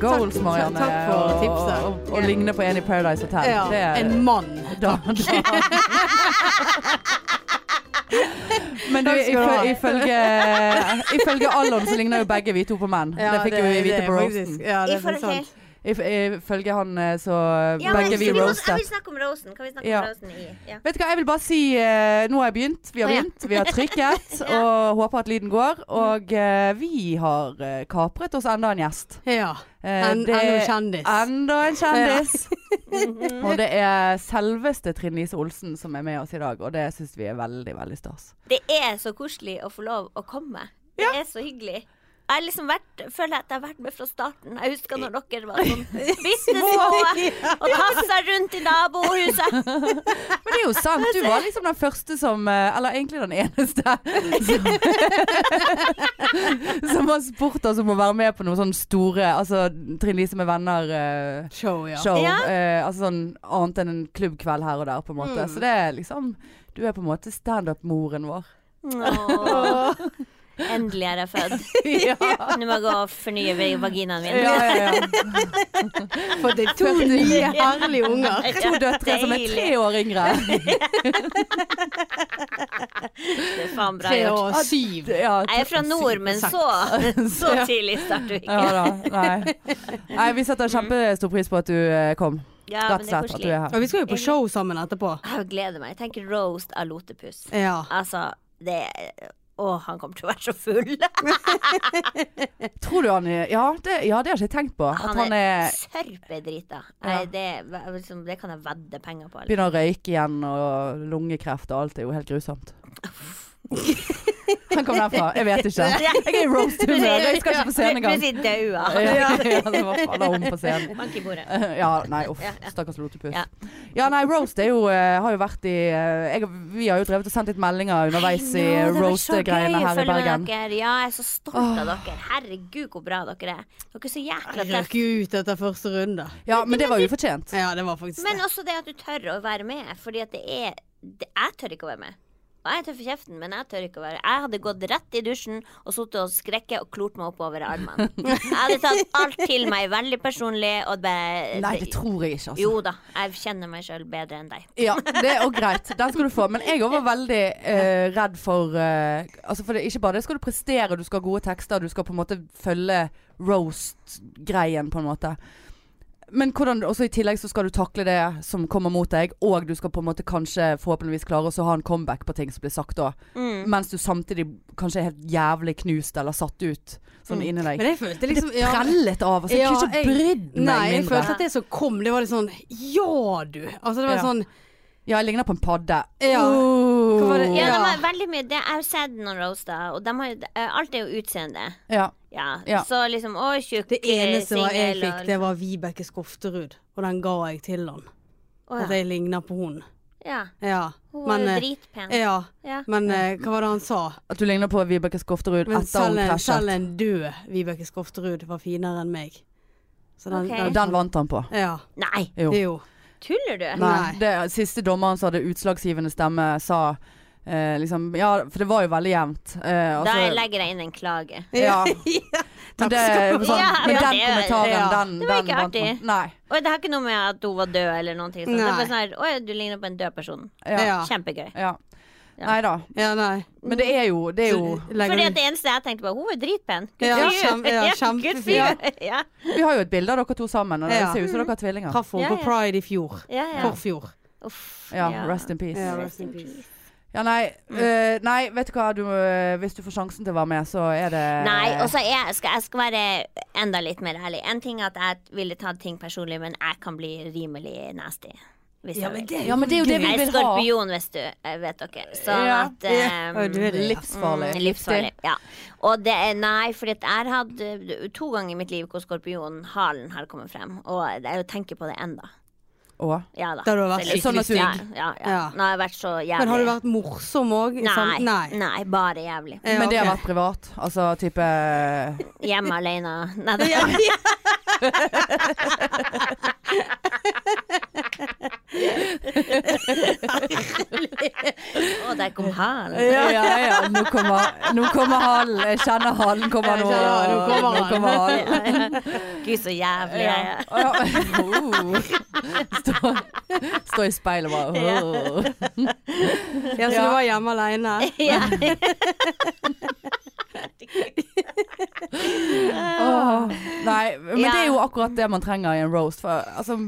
goals, Takk- Marianne. takk for og- tipset. Og, og, ligne på en i Paradise Hotel. Ja, Det er- en mann. da, da. Men du, Takk skal du ha. iføl- ifølge, ifølge Allon så ligner jo begge vi to på menn. det fikk jo vi vite det på er roasten. faktisk- Ja, det er Ifølge- sant. If- Ifølge han eh, så Ja, men begge vi vi må- Jeg roastet. vil snakke om rosen. Kan vi snakke Ja. om rosen i ja. Vet du hva, jeg vil bare si eh, Nå har jeg begynt, vi har Å, ja. begynt, vi har trykket og håper at lyden går. Og eh, vi har eh, kapret oss enda en gjest. Ja. Eh, En, det- enda en kjendis. Enda en kjendis. og det er selveste Trine Lise Olsen som er med oss i dag, og det syns vi er veldig, veldig stas. Det er så koselig å få lov å komme. Det er så hyggelig. Jeg har liksom vært, føler jeg at jeg har vært med fra starten. Jeg husker når dere var sånn bitte små og tassa rundt i nabohuset. Men det er jo sant, du var liksom den første som eh, Eller egentlig den eneste som, som har spurt oss om å være med på noen sånne store Altså Trine Lise med venner. eh, Show, ja. show. Ja. Eh, altså sånn annet enn en klubbkveld her og der, på en måte. Mm. Så det er liksom Du er på en måte standup-moren vår. Åh. Endelig er jeg født. ja, Nå må jeg gå og fornye vaginaen min. ja, ja. For det er to nye herlige unger. To døtre som er tre år yngre. Det er faen bra Tre gjort. og syv. Ja, Jeg er fra nord, men så, så tidlig starter vi ja ikke. da. Nei. Nei, vi setter kjempestor pris på at du eh, kom. Mm. Ja, Rett men og det er slett at du koselig. er her. Og vi skal jo på show sammen etterpå. Jeg gleder meg. Jeg tenker roast av lotepus. Ja. Altså, det Å, han kommer til å være så full. Tror du han er Ja, det, ja, det har ikke jeg tenkt på. At han er sørpedrita. Ja. Nei, Det, er liksom, det kan jeg vedde penger på. Eller? Begynner å røyke igjen og lungekreft og alt er jo helt grusomt. Han kom derfra. Jeg vet liksom. ikke. Jeg er i roast-humør. Jeg skal ikke på scenen engang. Plutselig daua han. Ja, altså, hva faen er hun på scenen? Bank i bordet. Ja, nei, uff. Ja, ja. Stakkars lotepus. Ja. Ja, nei, roast er jo, eh, har jo vært i eh, jeg, Vi har jo drevet og sendt litt meldinger underveis i Nå, det var så gøy roast-greiene å her i følge med Bergen. Dere. Ja, jeg er så stolt av dere. Herregud, hvor bra dere er. Dere er så jækla Røk tøffe. ut etter første runde. Ja, men det var ufortjent. Ja, det var faktisk Men det. også det at du tør å være med, fordi at det er det, Jeg tør ikke å være med. Og jeg er tøff i kjeften, men jeg tør ikke å være Jeg hadde gått rett i dusjen og sittet og skrekket og klort meg oppover armene. Jeg hadde tatt alt til meg veldig personlig og bare Nei, det tror jeg ikke, altså. Eh, Jo da, jeg kjenner meg sjøl bedre enn deg. Ja, det er også greit. Den skal du få. Men jeg også var veldig eh, redd for eh, Altså for det, Ikke bare det skal du prestere, du skal ha gode tekster, du skal på en måte følge roast-greien, på en måte. Men hvordan, også i tillegg så skal du takle det som kommer mot deg, og du skal på en måte kanskje forhåpentligvis klare å ha en comeback på ting som blir sagt da. Mm. Mens du samtidig kanskje er helt jævlig knust eller satt ut sånn inni deg. Men jeg følte liksom det prellet av. Altså, jeg Ja, kunne ikke jeg- brydd meg Nei, jeg mindre. følte at det som kom, det var litt sånn Ja, du! Altså, det var Ja. Oh. sånn Ja, jeg ligner på en padde. Ja. Hva var det? Ja. Ja, de har veldig mye det, Jeg har sett noen roaster, og de har, jo- eh, alt er jo utseende. Ja. Ja, Ja. Så liksom Å, tjukk Det eneste var jeg singel, fikk, og- det var Vibeke Skofterud. Og den ga jeg til han. Å, At ja. jeg ligner på hun. ja. Ja. Hun var jo eh, dritpen. ja. Ja. Men eh, hva var det han sa? At du ligner på Vibeke Skofterud Men etter hun selv en, selv krasjet. en død Vibeke Skofterud var finere enn meg. Så den, Ok. Og den vant han på. Ja. Nei, Jo. Det er jo tuller Nei. du? Nei. Det siste dommeren som hadde utslagsgivende stemme, sa eh, liksom Ja, for det var jo veldig jevnt. Eh, og Da så- legger jeg inn en klage. Ja. Men, det, Takk skal du sånn, Ja, men men den det- kommentaren, ja. den, Det var den ikke vant han. artig. Nei. Og det har ikke noe med at hun var død eller noen ting. Sånn. Det er Nei. bare sånn her, Å, ja, du ligner på en død person. Ja. ja. Ja. Kjempegøy. Ja. Nei da. Ja, nei. Men det er jo, det er jo Legger Fordi du- at det eneste jeg tenkte på, hun er dritpen. Good Ja, for you. kjem- ja, good for kjempefin. you. Ja. Vi har jo et bilde av dere to sammen, og det Ja. ser ut som dere er tvillinger. Traff henne Ja, på ja. pride i fjor. Ja, ja. Forfjor. Uff, Ja, rest in peace. Ja, Rest in peace. Ja, nei, Mm. eh, nei, vet du hva. Du, eh, hvis du får sjansen til å være med, så er det Nei, og så er- skal jeg skal være enda litt mer ærlig. En ting er at jeg ville tatt ting personlig, men jeg kan bli rimelig nasty. Hvis jeg vil. Ja, men det er jo det vi Jeg er vil ha. skorpion, hvis du eh, vet dere. Sånn Ja. at eh, Oi, du er det, ja. Livsfarlig. Mm, livsfarlig. Ja. Og det er Nei, for jeg har hatt eh, to ganger i mitt liv hvor skorpionhalen har kommet frem. Og jeg tenker på det enda. Å. Ja da. Da du har vært Så litt- skikkelig Ja, stygg. ja, ja. Ja. Nå har jeg vært så jævlig. Men har du vært morsom òg? Nei. Nei. nei. bare jævlig. Ja, Men det har ok. vært privat. Altså type Hjemme alene. Nei, da. Ja, ja. Å, der kom halen. Ja, ja, ja. Nå kommer, nå kommer halen. Jeg kjenner halen kommer Jeg nå. kjenner halen. Nå kommer Nå halen. kommer halen. Gud, så jævlig jeg er. Å, ja. Oh. Stå, stå i speilet og bare oh. Ja, så Ja. du var hjemme alene Ja. Åh, Nei, men Ja. det er jo akkurat det man trenger i en roast. For, altså,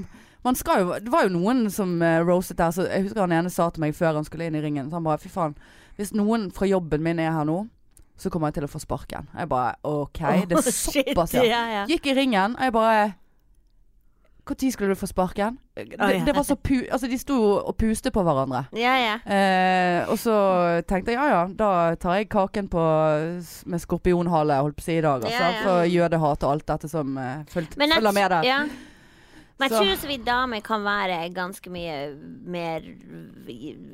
man skal jo, det var jo noen som eh, roastet der, så jeg husker han ene sa til meg før han skulle inn i ringen. Så han bare fy faen, hvis noen fra jobben min er her nå, så kommer jeg til å få sparken. Jeg bare OK, det er såpass, ja. ja, ja. Gikk i ringen, og jeg bare Når skulle du få sparken? Det, ja. det var så pu Altså, de sto og puste på hverandre. Ja, ja. Eh, og så tenkte jeg ja ja, da tar jeg kaken på, med skorpionhale holdt på å si i dag. Altså, Ja, ja. For jødehat og alt dette som eh, fulgt, Men jeg, følger med der. Ja. Men jeg Så- tror også vi damer kan være ganske mye mer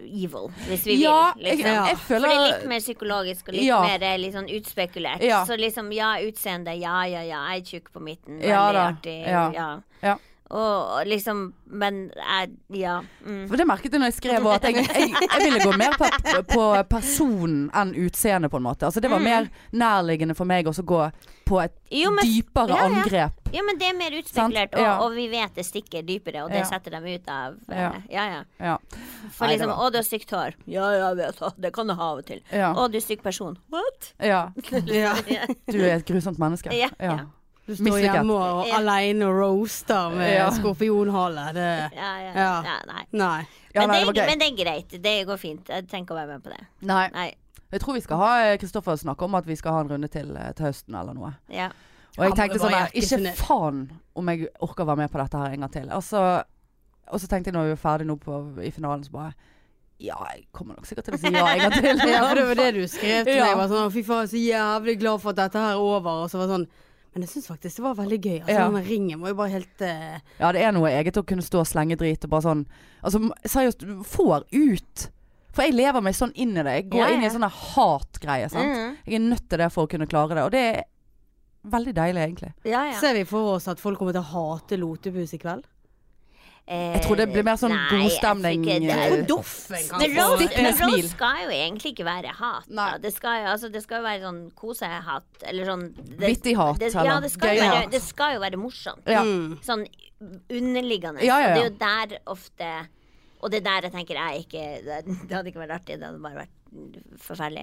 evil, hvis vi Ja, vil. jeg, Liksom. jeg For føler det er litt mer psykologisk og litt Ja. mer eh, litt sånn utspekulert. Ja. Så liksom ja, utseende, ja ja ja, jeg er tjukk på midten, veldig Ja da, artig. ja. Ja. Og og liksom Men jeg Ja. Mm. For det merket jeg når jeg skrev også, at jeg, jeg, jeg ville gå mer på, på personen enn utseendet, på en måte. Altså, det var mer nærliggende for meg også å gå på et Mm. Jo, men- dypere ja, ja. angrep. Ja, men det er mer utspekulert, og, Ja. og vi vet det stikker dypere, og det Ja. setter dem ut av eh, Ja. Ja ja. Ja. For Nei, det liksom var- Å, du har stygt hår. Ja, jeg vet det. Det kan du ha av og til. Ja. Å, du er stygg person. What? ja. ja. Du er et grusomt menneske. Ja, ja. Du står Mislykket. hjemme og, Ja. alene og roaster med Ja. skorpionhale det, Ja, ja. ja. Ja. nei. Nei Ja, men, nei, det det, var er- gøy. men det er greit. Det går fint. Jeg trenger ikke å være med på det. Nei. Nei. Jeg tror vi skal ha eh, Kristoffer snakke om at vi skal ha en runde til eh, til høsten eller noe. Ja. Og Han jeg tenkte må sånn være her, Ikke hjertesunn. faen om jeg orker å være med på dette her en gang til. Og så, og så tenkte jeg når vi var ferdig nå på, i finalen, så bare Ja, jeg kommer nok sikkert til å si ja en gang til. Ja, for det var det du skrev til Ja. meg. Var sånn, «Å, Fy faen, jeg er så jævlig glad for at dette her er over. Og så var det sånn Men jeg syns faktisk det var veldig gøy. Altså, Ja. Den ringen var jo bare helt eh, Ja, det er noe eget å kunne stå og slenge drit og bare sånn Altså m- seriøst, du får ut. For jeg lever meg sånn inn i det. Jeg går Ja, inn i ja. en sånn der hatgreie. Sant? Mm. Jeg er nødt til det for å kunne klare det. Og det er veldig deilig, egentlig. ja, ja. Ser vi for oss at folk kommer til å hate Lotepus i kveld? Jeg tror det blir mer sånn Nei, jeg tror godstemning. ikke det. eh, Doffen Men Rose, Stikk med men Rose smil. skal jo egentlig ikke være hat. da. Nei. Det skal jo altså, det skal jo være sånn kose-hat, eller sånn det- Vittig hat, det- Ja, eller det skal, gøy jo være, hat. det skal jo være morsomt. Ja. Mm. Sånn underliggende. Ja, ja, ja. Det er jo der ofte Og det er der jeg tenker jeg ikke Det det hadde ikke vært artig, det hadde bare vært forferdelig.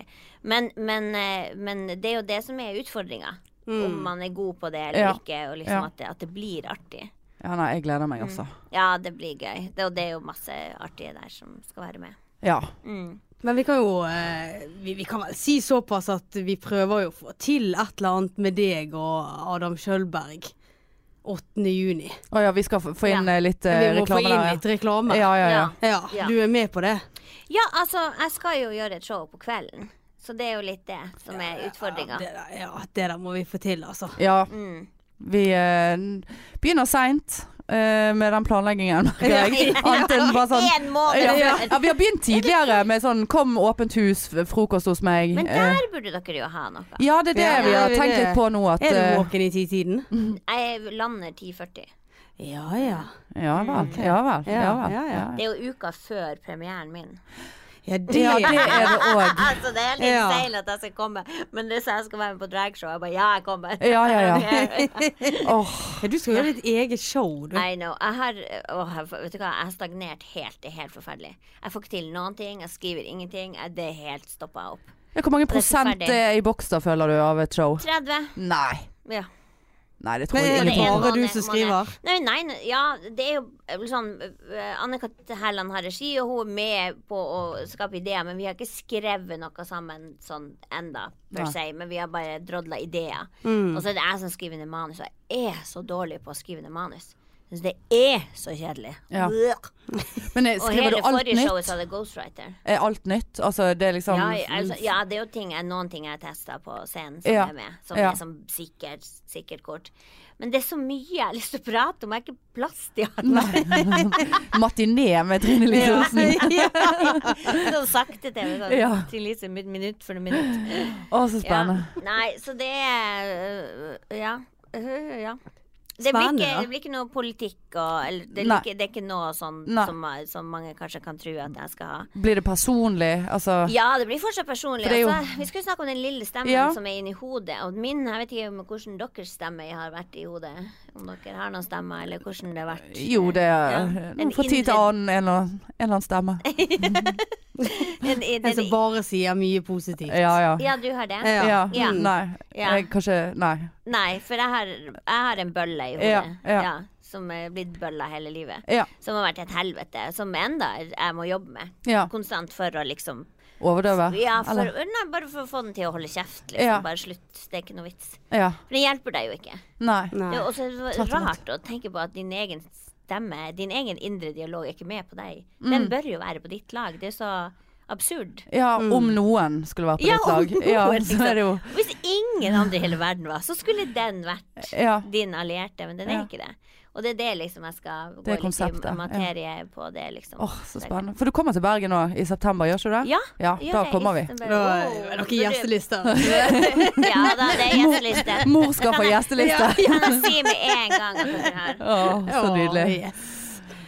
Men, men, eh, men det er jo det som er utfordringa. Om man er god på det Mm. eller Ja. ikke, og liksom Ja. at, det, at det blir artig. Ja, nei, jeg gleder Mm. meg, altså. Ja, det blir gøy. Det, og det er jo masse artige der som skal være med. Ja. Mm. Men vi kan jo eh, vi, vi kan vel si såpass at vi prøver jo å få til et eller annet med deg og Adam Kjølberg 8. juni. Å ja, vi skal f- få inn Ja. eh, litt eh, Vi må få reklame inn der. litt reklame. Ja, ja, ja. Ja. ja. Du er med på det? Ja, altså, jeg skal jo gjøre et show på kvelden. Så det er jo litt det som er utfordringa. Det der, ja, det der må vi få til, altså. Ja, Mm. vi eh, n- begynner seint med den planleggingen, merker jeg. Annet enn bare sånn En måned ja, ja, før. vi har begynt tidligere med sånn 'kom åpent hus, f- frokost hos meg'. Men Eh, der burde dere jo ha noe. ja, det er det Ja, vi har det er tenkt det. litt på nå. At, Er du eh, våken i titiden? Jeg lander 10.40. Ja ja. ja vel. Ja vel. Ja, Mm, Ja, ja, vel ja. ja. Det er jo uka før premieren min. Ja, det, ja, det er det òg. Altså, det er litt Ja. seil at jeg skal komme, men det sa jeg skal være med på dragshow. Jeg bare ja, jeg kommer. Ja, ja, ja. Ok. Åh, Ja, du skal gjøre ditt eget show, du. I know. Jeg har åh, jeg får- vet du hva, jeg har stagnert helt. Det er helt forferdelig. Jeg får ikke til noen ting. Jeg skriver ingenting. Jeg- Det er helt stoppa opp. ja, Hvor mange er prosent forferdelig. eh, i boks da føler du av et show? 30. Nei. Ja. Nei, det tror Men jeg er det ingenting en på. bare du måned, som måned. skriver? Nei, nei, nei, ja, det er jo eh, sånn eh, Anne-Kat. Hærland har regi, og hun er med på å skape ideer, men vi har ikke skrevet noe sammen sånn enda, per Nei. Mm. se. Men vi har bare drodla ideer. Og så er det jeg som skriver ned manus, og jeg er så dårlig på å skrive ned manus. Jeg synes det er så kjedelig. Ja. Blech. Men eh, Og skriver hele du alt forrige showet nytt? så hadde ghostwriter. Er alt nytt? Altså, det er liksom Ja, altså, ja, det er jo ting, jeg- noen ting jeg har testa på scenen som Ja. er med. Som Ja. er som sikkert, sikkert kort. Men det er så mye jeg har lyst til å prate om, jeg har ikke plass til alt. matiné med Trine Lise Olsen. Sånn sakte TV. Sånn. Ja. Til Lise min- minutt for minutt. Å, så Ja. spennende. Nei, så det er øh, Ja. Øh, ja. Det blir, Spennende, ikke, da. det blir ikke noe politikk og eller, det, Nei. blir ikke, det er ikke noe sånn Nei. som, som mange kanskje kan tro at jeg skal ha. Blir det personlig? Altså Ja, det blir fortsatt personlig. For det er jo- Altså, vi skulle snakke om den lille stemmen Ja. som er inni hodet. Og min, jeg vet ikke om hvordan deres stemme har vært i hodet. Om dere har noen stemme, eller hvordan det har vært. Jo, det er Ja. nå En fra tid til indre- annen en eller annen, en eller annen stemme. En, en, En som bare sier mye positivt. Ja, ja. ja, du har det? Ja. Altså, Ja. Mm, Ja. Nei. Ja. Jeg kanskje Nei. Nei, for jeg har, jeg har en bølle i hodet. Ja, Ja, ja. som er blitt bølla hele livet. Ja. Som har vært et helvete. Som enda jeg må jobbe med. ja. Konstant for å liksom Overdøve? Ja, for, Eller? nei, bare for å få den til å holde kjeft. Liksom. Ja. Bare slutt. Det er ikke noe vits. Ja. For det hjelper deg jo ikke. Nei. Nei. Det er også så Tvert imot. rart å tenke på at din egen stemme, din egen indre dialog, er ikke med på deg. Mm. Den bør jo være på ditt lag. Det er så absurd. Ja, om noen skulle være på Mm. Ja, ditt om lag. Ja, noen, liksom. så er det jo Hvis ingen andre i hele verden var, så skulle den vært Ja. din allierte, men den er Ja. ikke det. Og det er det liksom jeg skal gå Det er litt konseptet, i materie på det, liksom. Åh, så spennende. For du kommer tilbake nå i september, gjør ikke du det? Ja, Ja, da kommer vi. Da er det noen gjestelister. Ja da, det er gjesteliste. Mor skal få gjesteliste! Kan jeg si med en gang at dere har Åh, så Åh, nydelig. yes.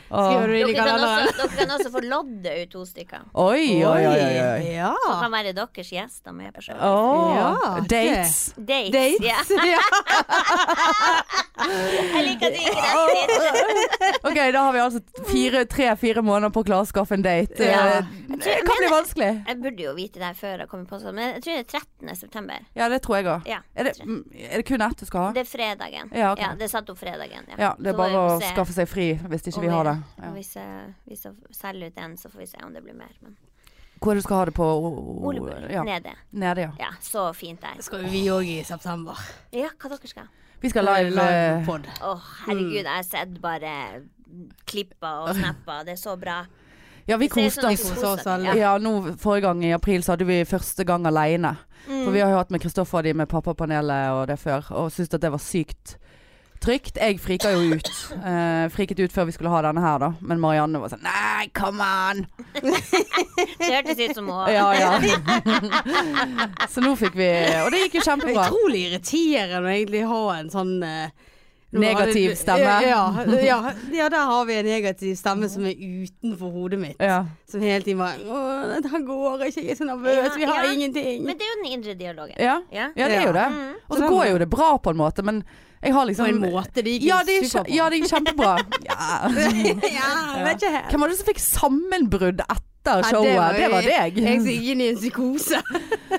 Åh. Skriver du inn dere i kan, også, kalenderen? dere kan også få lodde ut to stykker. Oi, oi, oi. oi. Ja. Det kan være deres gjester med på showet. Åh, Ja, det- Dates. Dates. Ja. Dates. Ja. Jeg liker at du ikke retter dit. Ok, da har vi altså fire- tre-fire måneder på å klare å skaffe en date. Ja. Eh, Det kan bli vanskelig. Jeg burde jo vite det her før jeg kommer på sånn, men jeg tror det er 13. september. Ja, det tror jeg òg. Ja. Er, det- mm, er det kun ett du skal ha? Det er fredagen. Ja, ok. det er satt opp fredagen. Ja, det er Så bare vi å får se skaffe seg fri hvis ikke om vi har det. Ja. Hvis jeg, hvis jeg selger ut en, så får vi se om det blir mer. Men Hvor er det du skal ha det på? Olebull Ja. nede. Nede, ja. Ja, så fint der. Skal vi òg i september. Ja, hva dere skal? Vi skal live. eh, pod. Å, herregud, jeg har sett bare klipper og snapper. Det er så bra. Ja, vi Det ser ut koste som vi oss. koste koser oss alle. Ja. Ja, nå Forrige gang i april så hadde vi første gang aleine. For vi har jo hatt med Kristoffer og de med Pappapanelet og det før, og syntes at det var sykt trygt. Jeg frika jo ut. Eh, friket ut før vi skulle ha denne her, da. Men Marianne var sånn Nei, come on! Det hørtes ut som å Ja, ja. så nå fikk vi Og det gikk jo Det er kjempebra. utrolig irriterende å egentlig ha en sånn eh, nå Negativ har du- stemme. Ja, ja, ja, der har vi en negativ stemme som er utenfor hodet mitt. Ja. Som hele tiden bare Å, dette går ikke, jeg er så nervøs, Ja, vi har ja. ingenting. Men det er jo den indre dialogen. Ja. Ja. ja, det er jo det. Og så går jo det bra på en måte, men jeg har liksom på en måte, det gikk Ja, det er, superbra. kje- ja, det er kjempebra. ja, Ja. jeg vet ikke helt. Hvem var det som fikk sammenbrudd etter Ja, showet? det var deg. Jeg som gikk inn i en psykose.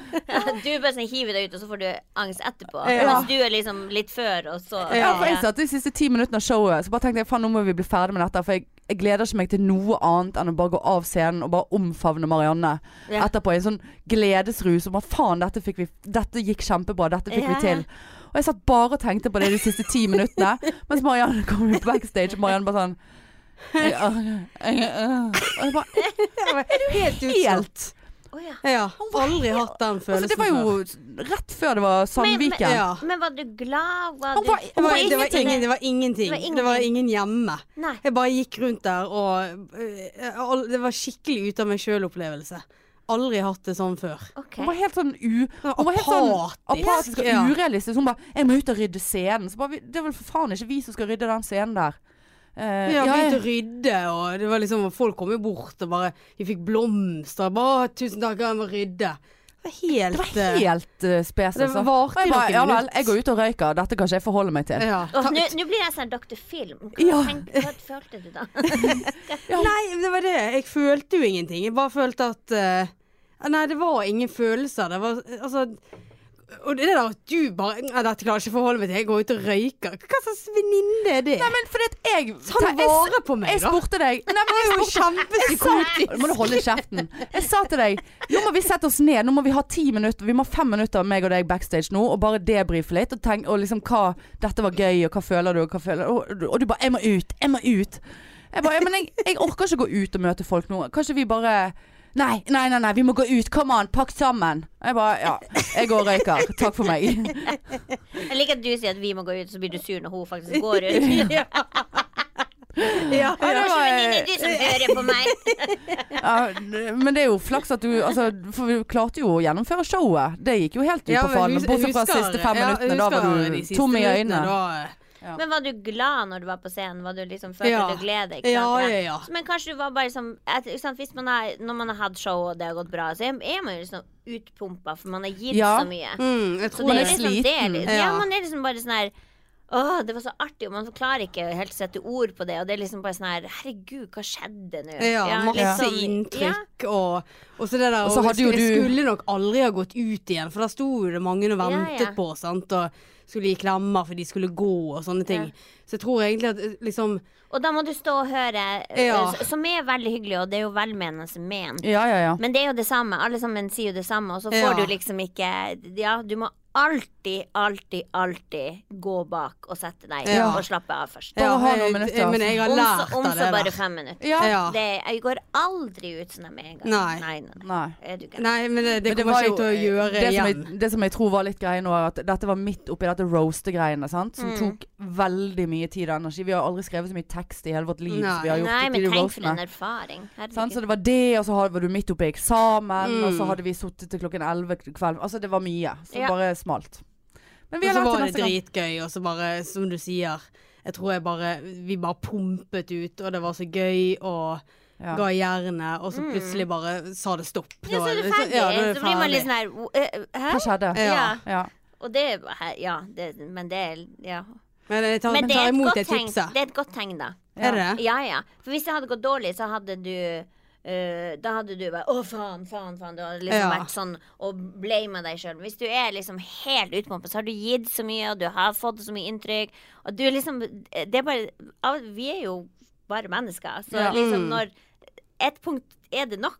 Du bare sånn hiver deg ut, og så får du angst etterpå. Ja. Mens du er liksom litt før, og så Ja, for jeg satt de siste ti minuttene av showet, så bare tenkte jeg faen, nå må vi bli ferdig med dette. For jeg, jeg gleder ikke meg til noe annet enn å bare gå av scenen og bare omfavne Marianne Ja. etterpå i en sånn gledesrus om at faen, dette, fikk vi, dette gikk kjempebra, dette fikk Ja, vi ja. til. Og jeg satt bare og tenkte på det de siste ti minuttene, mens Marianne kom ut backstage, og Marianne bare sånn jeg, jeg, og jeg bare, Er du helt helt Å, ja. Ja, aldri hatt den følelsen Altså, det var før. jo rett før det var Men- men- Sandviken. Ja. Men var du glad? Var Han du var- det var, det, var ingenting. ingen, det var ingenting. Det var Det var ingen hjemme. Nei. Jeg bare gikk rundt der og øh, all- Det var skikkelig ut av meg sjøl-opplevelse. Aldri hatt det sånn før. OK. Hun var helt sånn u... Sånn Hun var helt sånn apatisk, apatisk og ja. urealistisk. Hun bare 'Jeg må ut og rydde scenen'. Så bare, vi- det er vel for faen ikke vi som skal rydde den scenen der. Eh, Ja, ja, begynte å rydde, og det var liksom Folk kom jo bort og bare Vi fikk blomster. Bare «Å, 'Tusen takk, jeg må rydde'. Det var det helt, eh, var helt uh, spes, Det altså. varte Og jeg i bare, noen ja vel, minutter. jeg går ut og røyker. Dette kan ikke jeg forholde meg til. ja. Åh, ta- Nå nå blir jeg sånn Dr. Film. Hva, Ja. tenk, hva følte du da? Nei, det var det. Jeg følte jo ingenting. Jeg bare følte at eh, Nei, det var ingen følelser. Det var altså Og det der at du bare Nei, dette klarer jeg ikke å forholde meg til. Jeg går ut og røyker. Hva slags venninne er det? Nei, men fordi at jeg Ta jeg- vare på meg, Jeg da. spurte deg Nei, men jeg Det er jo spurte kjempepsykotisk. Nå må du holde kjeften. Jeg sa til deg Nå må vi sette oss ned. Nå må vi ha ti minutter Vi må ha fem minutter, meg og deg backstage nå, og bare debrife litt. Og, tenk, og liksom hva Dette var gøy, og hva føler du, og hva føler Og, og du bare 'Jeg må ut'. Jeg må ut. Jeg bare, ja, men jeg, jeg orker ikke gå ut og møte folk nå. Kanskje vi bare Nei, nei, nei, nei, vi må gå ut. Come on, pakk sammen. Jeg bare Ja. Jeg går og røyker. Takk for meg. Jeg liker at du sier at vi må gå ut, så blir du sur når hun faktisk går ut. Ja. ja, Ja, det Kanskje var- venninne du som hører på meg. Ja, men det er jo flaks at du altså, For vi klarte jo å gjennomføre showet. Det gikk jo helt ut på men faen. hus- Bortsett fra husker- siste fem ja, minuttene. Da husker var de du siste tom i minuttene, øynene. da, eh, Ja. Men var du glad når du var på scenen? Var du liksom Følte Ja. du glede? Ikke sant? Ja, ja, ja. Så, Men kanskje du var bare liksom jeg tror- ikke sant, hvis man har, Når man har hatt show og det har gått bra, så er er man jo liksom utpumpa, for man har gitt Ja. så mye. Mm, jeg Så tror det Man er er det. sli- liksom det. er sliten. litt- Ja, Ja. man er liksom bare sånn her Åh, det var så artig, og man klarer ikke helt å sette ord på det. Og det er liksom bare sånn her Herregud, hva skjedde nå? Ja, litt masse sånn- Ja. inntrykk og, og så det der Og så og hadde jo Jeg du- skulle nok aldri ha gått ut igjen, for der sto jo det mange og Ja, ja. ventet på, sant, og skulle gi klemmer for de skulle gå og sånne ting. Ja. Så jeg tror egentlig at eh, liksom Og da må du stå og høre, eh, Ja. s- som er veldig hyggelig, og det er jo velmenende ment. Ja, ja, ja. Men det er jo det samme. Alle sammen sier jo det samme, og så får Ja. du liksom ikke Ja, du må alltid, alltid, alltid gå bak og sette deg Ja. og slappe av først. Bare ja, ha noen jeg- minutter, altså. jeg- Men jeg har Om så, lært om av så det bare der. fem minutter. Ja. Ja. Det, jeg går aldri ut sånn med en gang. Nei. Nei, nei, nei. Nei. Er du gæren? Nei, men eh, det, det Men kommer var ikke jeg til å jo, eh, gjøre det igjen. Som jeg, det som jeg tror var litt greia nå, er at dette var midt oppi dette roaste-greiene, sant. Som Mm. tok veldig mye tid og energi. Vi har aldri skrevet så mye tekst i hele vårt liv Nei. som vi har gjort Nei, i men de tenk for en roastene. erfaring. Herregud. Sant? Så det var det, og så har- var du midt oppi eksamen, og Mm. så hadde vi sittet til klokken 11 kvelden. Altså det var mye. Så Ja. bare smalt. Men vi Og har så lært var det det neste gang. dritgøy, og så bare, som du sier Jeg tror jeg bare Vi bare pumpet ut, og det var så gøy, og Ja. ga jernet, og så plutselig bare sa det stopp. Mm. Ja, så er du var- ferdig. Ja, da er så det blir man ferdig. litt sånn her wo- eh, Hæ? Hva skjedde? Ja. Ja. Og det er bare- Ja, det, men det er Ja. Men jeg tar, Men det tar er et imot godt det tegn. tipset. Det er et godt tegn, da. Er det det? Ja, ja. For hvis det hadde gått dårlig, så hadde du eh, da hadde du bare 'Å, faen, faen, faen'. Du hadde Ja. liksom vært sånn og blama deg sjøl. Hvis du er liksom helt utpumpet, så har du gitt så mye, og du har fått så mye inntrykk, og du er liksom Det er bare av- Vi er jo bare mennesker, så Ja. Mm. liksom når Et punkt er det nok.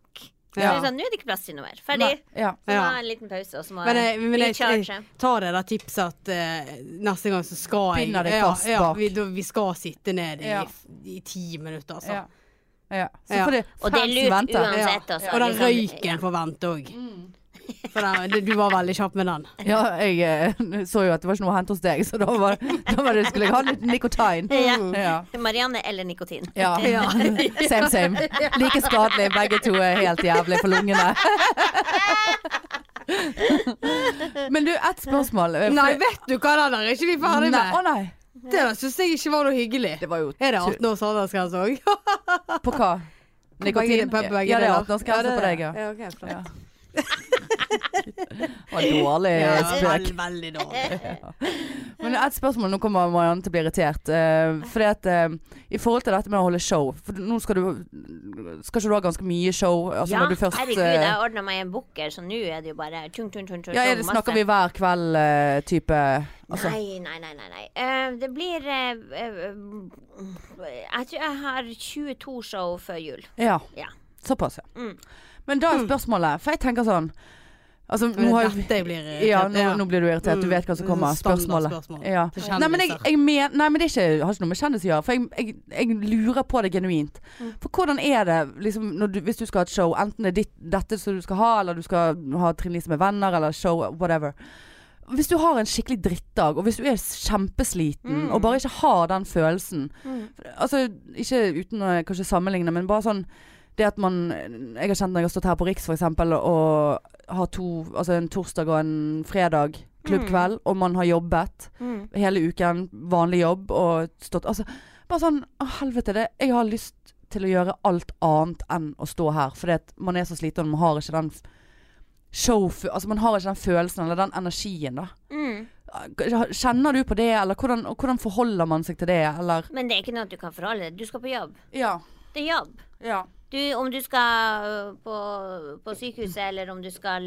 Så Ja. er det sånn, Nå er det ikke plass til noe mer. Nei. Ferdig. Ja. Så Ja. må jeg ha en liten pause, og så må Men eh, jeg, jeg men jeg, jeg, recharge. tar det der tipset at eh, neste gang så skal jeg Binder deg fast ja, ja, bak. vi, da, vi skal sitte ned i, Ja. i ti minutter, altså. Ja. ja. Så Ja. for det, Og det er fansen lurt venter. uansett. Sett oss, Og den liksom, ja. røyken får vente òg. For den- du var veldig kjapp med den. Ja, jeg eh, så jo at det var ikke noe å hente hos deg, så da, var, da var det, skulle jeg ha litt nikotin. Ja. Mm. Ja. Marianne eller nikotin. Ja. Same, same. Like skadelig. Begge to er helt jævlig for lungene. Men du, ett spørsmål. eh, for- Nei, vet du hva, den der er ikke vi ferdig Nei, med. Å nei. Det der syns jeg ikke var noe hyggelig. Det var jo Er det 18 års aldersgrense òg? På hva? Nikotin? Ja, det er 18-årsgrense på deg, ja. ja ok, flott. Ja. Det var dårlig Ja, Eh, spøk. vel- veldig Eh. dårlig. Men et spørsmål, nå kommer Marianne til å bli irritert. Uh, fordi at eh, I forhold til dette med å holde show For nå skal du Skal ikke du ha ganske mye show? Altså ja, når du først herregud, eh, jeg ordna meg en booker, så nå er det jo bare tjung, tjung, tjung, tjung, ja, er det, tjung, Snakker masse. vi hver eh, kveld-type altså, Nei, nei, nei. nei, nei. Eh, det blir eh, eh, Jeg tror jeg har 22 show før jul. Ja. Ja. Såpass, ja. Mm. Men da er spørsmålet For jeg tenker sånn Altså, nå har vi Dette jeg blir irritert. ja, nå, nå blir du irritert. Du Mm. vet hva som kommer. Spørsmålet. Standardspørsmål. Ja. Til kjendiser. Nei, men, jeg, jeg men, nei, men det er ikke, har ikke noe med kjendiser å gjøre. For jeg, jeg, jeg lurer på det genuint. For hvordan er det liksom, når du, hvis du skal ha et show, enten det er ditt, dette som du skal ha, eller du skal ha Trine Lise med venner, eller show, whatever. Hvis du har en skikkelig drittdag, og hvis du er kjempesliten, og bare ikke har den følelsen Altså, ikke uten å kanskje sammenligne, men bare sånn det at man Jeg har kjent når jeg har stått her på Riks f.eks. og har to Altså en torsdag og en fredag klubbkveld, og man har jobbet hele uken, vanlig jobb, og stått Altså bare sånn Å, helvete, det Jeg har lyst til å gjøre alt annet enn å stå her, fordi at man er så sliten, og man har ikke den f- show... Altså man har ikke den følelsen eller den energien, da. Mm. Kjenner du på det, eller hvordan, og hvordan forholder man seg til det, eller Men det er ikke noe du kan forholde deg Du skal på jobb. Ja. Det er jobb. Ja. Du, om du skal øh, på, på sykehuset, eller om du skal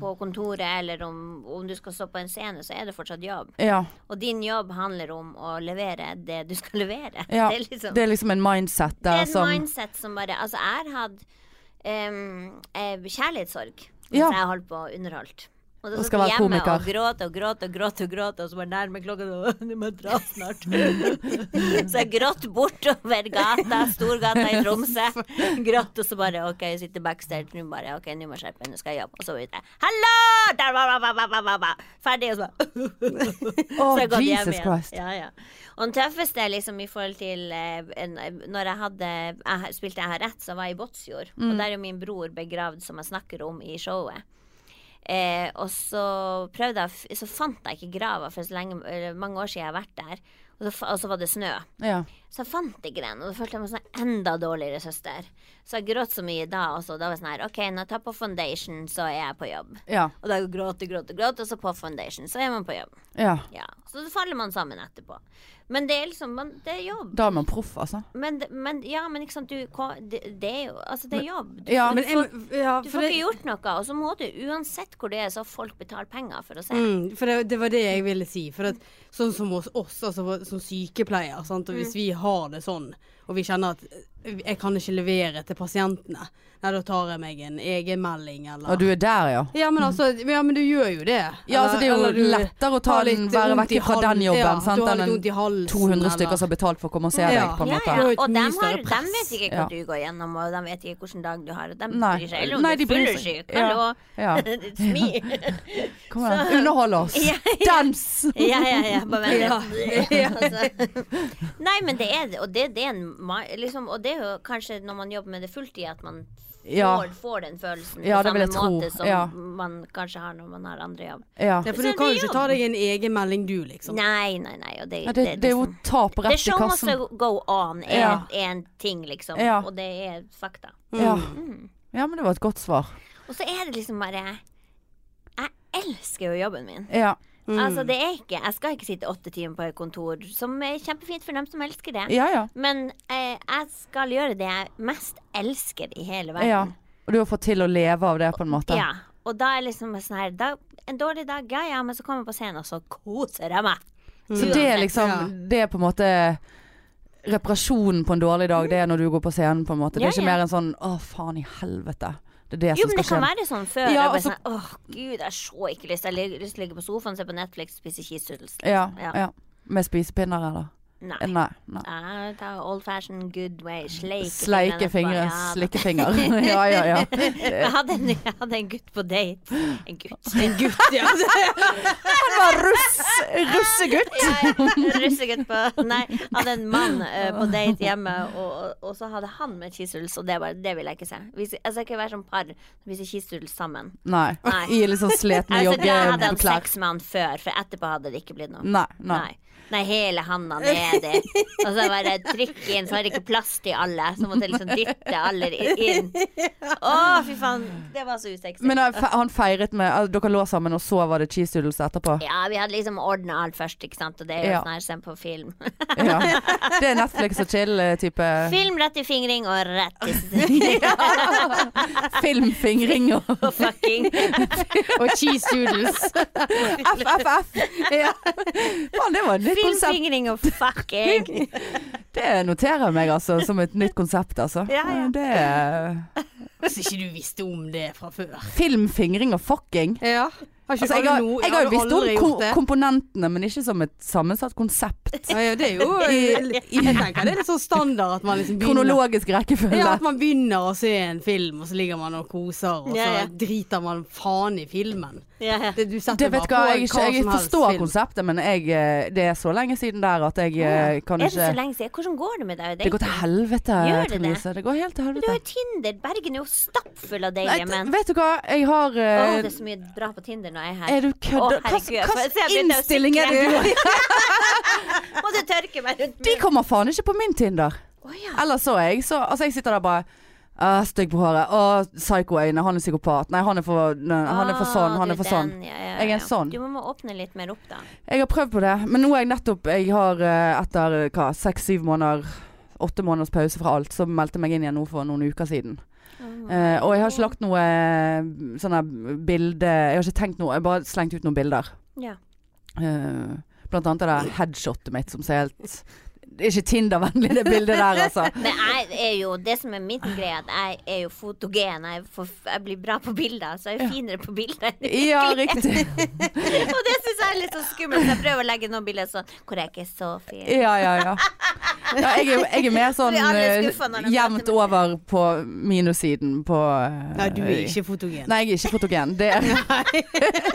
på kontoret, eller om, om du skal stå på en scene, så er det fortsatt jobb. ja. Og din jobb handler om å levere det du skal levere. Ja, Det er liksom Det er liksom en mindset Det der er et som mindset som bare Altså, jeg har hatt em, eh, kjærlighetssorg mens Ja. jeg holdt på underholdt. Og da Og satt skal jeg være hjemme komiker. og gråt og gråt og gråt, og gråt Og så var det nærme klokka og Du må dra snart. så jeg gråt bortover gata, Storgata i Tromsø. Gråt, og så bare OK, jeg sitter backstage nå, bare. OK, nå må jeg skjerpe meg, nå skal jeg jobbe. Og så var det Hallo! Der, ba, ba, ba, ba, ba, ba. Ferdig, og så bare Å, så jeg har gått hjem Jesus igjen. Christ. Ja, ja. Og den tøffeste liksom i forhold til eh, en, Når jeg hadde jeg, ha- spilte Jeg har rett, så var jeg i Båtsfjord. Mm. Og der er jo min bror begravd, som jeg snakker om i showet. Eh, og så prøvde jeg å f- Så fant jeg ikke grava for så lenge, eller mange år siden jeg har vært der. Og så, fa- og så var det snø. Ja. Så jeg fant ikke den, og da følte jeg meg som en enda dårligere søster. Så jeg gråt så mye da også. Da var jeg sånn her OK, når jeg tar på foundation, så er jeg på jobb. Ja. Og da gråt og gråt og gråt, og så på foundation, så er man på jobb. ja. Ja. Så faller man sammen etterpå. Men det er liksom man, Det er jobb. Da er man proff, altså. Men, det- men ja, men ikke sant, du ko- Det, det er jo Altså, det er jobb. Du, Ja. Men jeg, ja, du for får det, ikke gjort noe, og så må du uansett hvor det er, så folk betaler penger for å se. mm, for det, det var det jeg ville si. For at, sånn som hos oss, altså vår- som sykepleier, sant? og hvis vi har det sånn, og vi kjenner at eh, jeg kan ikke levere til pasientene, nei, da tar jeg meg en egenmelding eller Og du er der, ja. Ja men, altså, ja, men du gjør jo det. Mm. Ja, altså Det er Eller- jo eller du lettere å ta har den, litt være vondt vekk i fra den hal- jobben ja, sant, du har enn litt vondt i halsen. 200 stykker eller- som har betalt for å komme og se Ja. deg, på en Ja, måte. ja. Det er jo et Og mye de, har, større de press. vet ikke Ja. hva du går gjennom, og de vet ikke hvilken dag du har. Og de Nei. bryr seg. Eller om Nei, de du er bryr seg. fyllesyk. Hallo. Ja. Smil. Kom igjen. Underhold oss. Ja, Dans! Ja, ja, ja. Bare vent Ja. litt. altså. Nei, men det er det. Og det, det er en ma- liksom, Og det er jo kanskje når man jobber med det fulltid, at man får, Ja. får den følelsen Ja, på det samme vil jeg tro. måte som Ja. man kanskje har når man har andre jobb. Ja. Ja, for Så du er kan jo det ikke jobb. ta deg en egen melding du, liksom. Nei, nei, nei. Og det, Ja, det, det er jo liksom- tap The rett i show sånn must kassen. go on er, Ja. er en ting, liksom. Ja. Og det er fakta. Ja. Mm. ja, men det var et godt svar. Og så er det liksom bare Jeg elsker jo jobben min. Ja. Altså, det er ikke Jeg skal ikke sitte åtte timer på et kontor, som er kjempefint for dem som elsker det. Ja, ja. Men eh, jeg skal gjøre det jeg mest elsker i hele ja. verden. Og du har fått til å leve av det, på en måte. Ja. Og da er liksom sånn her da, En dårlig dag, ja ja, men så kommer jeg på scenen, og så koser jeg meg. Så det er liksom Ja. Det er på en måte Reparasjonen på en dårlig dag, det er når du går på scenen, på en måte. Det Ja, er ikke ja. mer en sånn 'Å, faen i helvete'. Det er det som Jo, men det kan skal skje. være sånn før. Ja, jeg bare altså- sånn, Åh, gud, jeg har så ikke lyst. Jeg har lyst til å ligge på sofaen, se på Netflix, spise cheesedoodles. Ja, Ja. ja. Med spisepinner, eller? Nei. Eh, Nei. nei. Jeg tar old fashion good way. Sleike, Sleike fingre, Ja, da. slikkefinger. Ja, ja, ja. jeg hadde, en, jeg hadde en gutt på date. En gutt. En gutt, ja. Han var russ, russegutt! Ja, ja. Russegutt på Nei, jeg hadde en mann eh, på date hjemme, og, og, og så hadde han med cheesedoodles, og det, var, det vil jeg ikke se. Vi, skal- jeg skal ikke være sånn par som spiser cheesedoodles sammen. Nei. Nei. I litt sånn sletne Altså, da hadde han joggeklær. sex med han før, for etterpå hadde det ikke blitt noe. Nei. nei. Nei. Nei, hele handa nedi. Og så bare trykk inn, så var det ikke plass til alle. Så måtte jeg liksom dytte alle i- inn. Å, fy faen. Det var så usexy. Men han fe- han feiret med altså, Dere lå sammen, og så var det cheese doodles etterpå? ja, vi hadde liksom ordna alt først, ikke sant. Og det er jo Ja. sånn her sendt på film. Ja. Det er Netflix og eh, chill-type Film rett i fingring og rett i filmfingring og og fucking. Og cheese doodles. FFF. Ja. Faen, det var et nytt konsept. Filmfingring og fucking. Det noterer jeg meg altså som et nytt konsept, altså. Ja, ja. Det er Hvis ikke du visste om det fra før. filmfingring og fucking. Ja. Har ikke Altså, jeg, alle har, no- jeg har jo du visst om aldri ko gjort det? komponentene, men ikke som et sammensatt konsept. Ja, ja, det er jo eh, Jeg tenker det er litt sånn standard at man liksom begynner Kronologisk rekkefølge. ja, at man begynner å se en film, og så ligger man og koser, og så Ja, ja. driter man faen i filmen. Ja, ja. Det, du setter Det vet bare på jeg, ikke, som jeg helst forstår film. konseptet, men jeg, eh, det er så lenge siden der at jeg eh, kan Er det så ikke lenge siden? Hvordan går det med deg? og Det går til dating? helvete, Gjør det Trine det? Lise. Det går helt til Du har helvete. jo Tinder. Bergen er jo stappfull av Nei, deilige menn. vet du hva, jeg har Å, eh, det er så mye bra på Tinder når jeg er her. Er du kødda? Å, herregud, jeg får- Hvilken jeg begynte å innstilling er det du har? Må du tørke meg rundt De kommer faen ikke på min Tinder. Å, ja. Eller så er jeg så Altså, jeg sitter der bare «Ah, Stygg på håret. Å, psykoøyne. Han er psykopat. Nei, han er for, nei, han er for sånn. Han Ah, er du for sånn. den, ja, ja, Jeg er ja. en sånn. Du må, må åpne litt mer opp, da. Jeg har prøvd på det, men nå er jeg nettopp Jeg har eh, etter eh, hva, seks-syv måneder Åtte måneders pause fra alt, så meldte jeg meg inn igjen nå for noen uker siden. Eh, og jeg har ikke lagt noe eh, sånne bilde Jeg har ikke tenkt noe, jeg har bare slengt ut noen bilder. Ja. Eh, blant annet det der headshotet mitt som ser helt Det er ikke Tinder-vennlig, det bildet der, altså. Men jeg er jo Det som er min greie, at jeg er jo fotogen. Jeg, får, jeg blir bra på bilder, så jeg er finere på bilder. Ja, riktig. Og det syns jeg er litt sånn skummelt. så Jeg prøver å legge noen bilder sånn hvor jeg ikke er så fin. Ja, ja, ja. ja jeg, er, jeg er mer sånn Vi er alle eh, skuffa når det jevnt møter meg. over på minussiden på eh, Nei, du er ikke fotogen. Nei, jeg er ikke fotogen. Det er.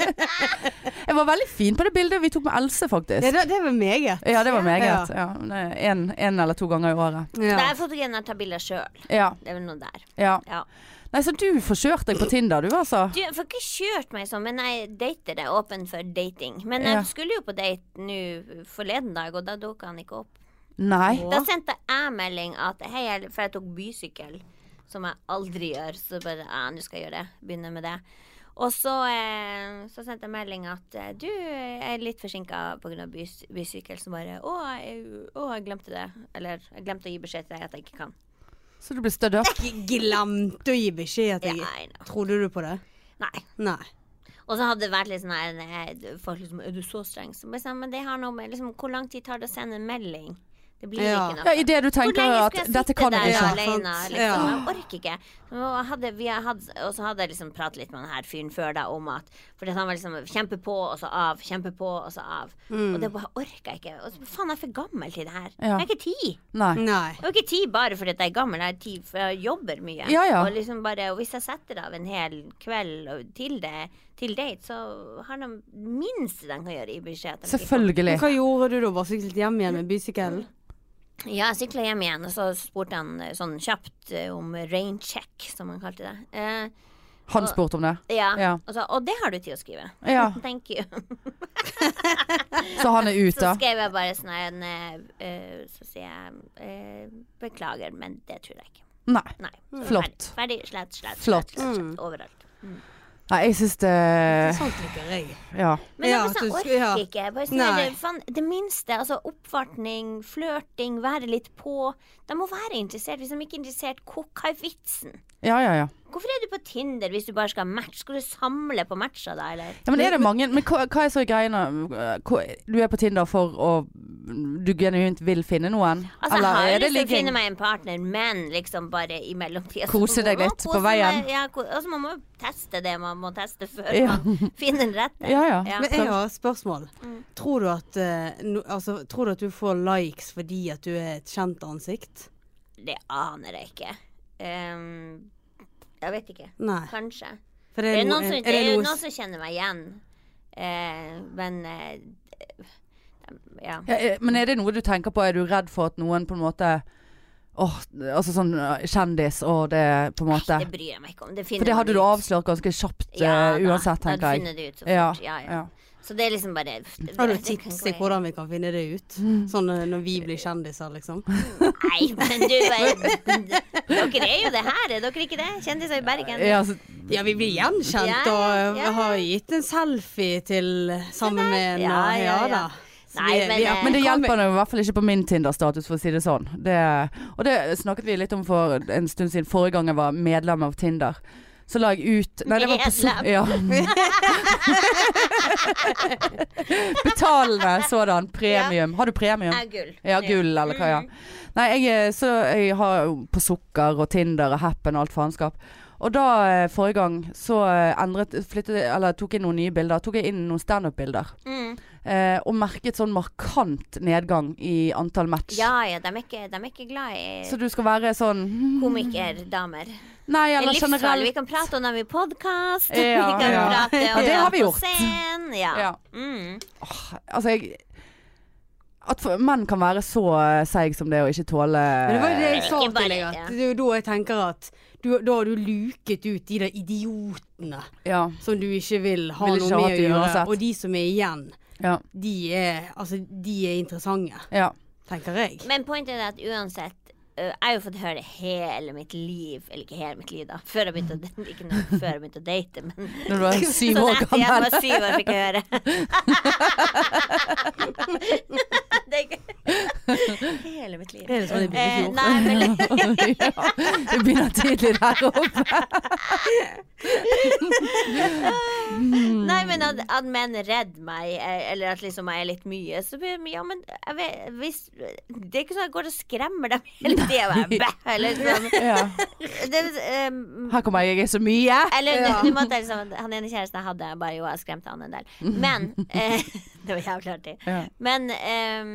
jeg var veldig fin på det bildet vi tok med Else, Ja, faktisk. det, det var meget. Ja, det var meget. Ja. Ja, det en, en eller to ganger i året. Det Ja. er fotogenene jeg tar bilder sjøl. Ja, Det er vel noe der. ja. Ja. Nei, så du forkjørte deg på Tinder, du altså? Du, jeg får ikke kjørt meg sånn, men jeg dater er åpen for dating. Men Ja. jeg skulle jo på date nå forleden dag, og da dukka han ikke opp. Nei. Da sendte jeg melding at hei, jeg, for jeg tok bysykkel, som jeg aldri gjør. Så bare ja, nå skal jeg gjøre det. Begynne med det. Og så, eh, så sendte jeg melding at eh, du jeg er litt forsinka pga. Bys bysykkel, så bare å jeg, å, jeg glemte det. Eller jeg glemte å gi beskjed til deg at jeg ikke kan. Så du ble stødd opp? G- Glemte å gi beskjed til Ja, deg. I know. Trodde du på det? Nei. Nei. Og så hadde det vært litt sånn her nei, Folk liksom Er du så streng? Så bare sånn, men det har noe med liksom Hvor lang tid tar det å sende en melding? Det blir Ja. ikke noe. Ja, Idet du Hvor tenker lenge at skal jeg 'dette sitte kan der jeg ikke'. alene? Sant. Liksom? Ja. Jeg orker ikke. Og, hadde, vi hadde, og så hadde jeg liksom pratet litt med den her fyren før da om at Fordi at han var liksom kjempe på, og så av, kjempe på, og så av. Og det bare orka jeg ikke. Og så, faen, jeg er for gammel til det her. Mm. Ja. Jeg er ikke ti. Nei. Nei. Jeg er ikke tid bare fordi at jeg er gammel, jeg er tid for jeg jobber mye. Ja, ja. Og, liksom bare, og hvis jeg setter av en hel kveld og til det, til date, så har de minste de kan gjøre i budsjettet. Selvfølgelig. Men hva gjorde du da? Bare syklet hjem igjen med bysykkelen? Eh. Ja, jeg sykla hjem igjen, og så spurte han eh, sånn kjapt eh, om rain check, som han kalte det. Eh, Han spurte om det. ja. Ja. Og, så, og det har du tid å skrive. Ja, Thank you. Så han er ute. Så skrev jeg bare sånn her, en, eh, eh, Så sier jeg eh, beklager, men det tror jeg ikke. Nei. Nei. Så Flott. Ferdig, ferdig slett, slett, Flott. slett, slett, slett overalt. Nei, jeg syns det Sånt liker jeg. Ja. Men Ja, jeg bare at sånn, du orker skulle- ja. ikke. Bare sånn, Nei. det, faen, det minste. Altså oppvartning, flørting, være litt på. De må være interessert. Hvis de ikke er interessert, hvor- hva er vitsen? Ja, ja, ja. Hvorfor er du på Tinder hvis du bare skal matche? Skal du samle på matcher da, eller? ja men er det mange Men hva, hva er så greia nå? Hva- Du er på Tinder for å Du genuint vil finne noen? Altså, jeg har jo lyst til å ligging? finne meg en partner, men liksom bare i mellomtida så Kose må deg man litt kose på veien. Meg, ja, ko- altså, man må jo teste det man må teste før Ja. man finner den rette. Ja, ja. Ja. Mm. Men jeg har et spørsmål. Tror du at, eh, no, altså, tror du at du får likes fordi at du er et kjent ansikt? Det aner jeg ikke. Ehm, jeg vet ikke. Nei. Kanskje. For Det er, no- noen som, er det er noe jo noen s- som kjenner meg igjen. Eh, men eh, eh, ja. Ja, eh, men er det noe du tenker på? Er du redd for at noen på en måte Åh, altså sånn eh, kjendis og det på en måte Det bryr jeg meg ikke om. Det For det hadde du avslørt ganske kjapt eh, uansett, tenker jeg. jeg. Det ut så, Ja, fort. ja, ja. ja. så det er liksom bare det- Har du det kan tips gå til i- hvordan vi kan finne det ut? Mm. Sånn eh, når vi blir kjendiser, liksom. Nei, men du bare- Dere er jo det her, er dere ikke det? Kjendiser i Bergen. Ja, altså, Ja, vi blir gjenkjent Ja, ja, og ja. har gitt en selfie til sammen med en. Ja, og- ja, ja. da. Så Nei, men, eh, Men det kommer- hjelper nå i hvert fall ikke på min Tinder-status, for å si det sånn. Det, og det snakket vi litt om for en stund siden, forrige gang jeg var medlem av Tinder. Så la jeg ut Nei, det var på so- Medlem. ja. Betalende sådan. Premium. Har du premium? Ja, gull. Ja, gull eller hva, ja. Nei, jeg, eh, så jeg har jo på sukker og Tinder og Happen og alt faenskap. Og da, eh, forrige gang, så eh, endret flyttet, Eller tok inn noen nye bilder. Tok jeg inn noen standup-bilder. Mm. Eh, og merket sånn markant nedgang i antall match. Ja ja, de er ikke, de er ikke glad i Så du skal være sånn hmm, komikerdamer. Nei, Det er eller livsfarlig. Vi generelt. kan prate om dem i podkast. Ja, vi kan ja. prate om Ja, det har vi på gjort. Scenen. Ja. Ja. Mm. Altså, jeg At for- menn kan være så eh, seig som det å ikke tåle Men det var jo det jeg sa Ikke bare til deg, at det. det er jo da jeg tenker at du, da har du luket ut de der idiotene Ja. som du ikke vil ha Vil ikke noe ha med å det gjøre. uansett. Og de som er igjen, Ja. de er, altså, de er interessante, ja. tenker jeg. Men pointet er at uansett øh, Jeg har jo fått høre hele mitt liv Eller ikke hele mitt liv, da. Før jeg begynte å, ikke nå, før jeg begynte å date, men Når du var syv Sånn år etter jeg gammel. var syv år, fikk jeg høre. det er ikke Hele mitt liv. Er det sånn det blir i Eh, fjor? nei, men ja, det begynner tidlig der oppe. Nei, men at, at menn redder meg, eh, eller at liksom jeg er litt mye, så blir det Ja, men jeg vet, hvis Det er ikke sånn at jeg går og skremmer dem hele tida. Eller sånn. Ja. Det, er, um, Her kommer jeg, jeg er så mye. eller nå- nå måtte jeg liksom Han ene kjæresten jeg hadde, jeg bare jo, jeg skremte han en del. Men eh, Det var jævlig artig. Ja. Men ehm,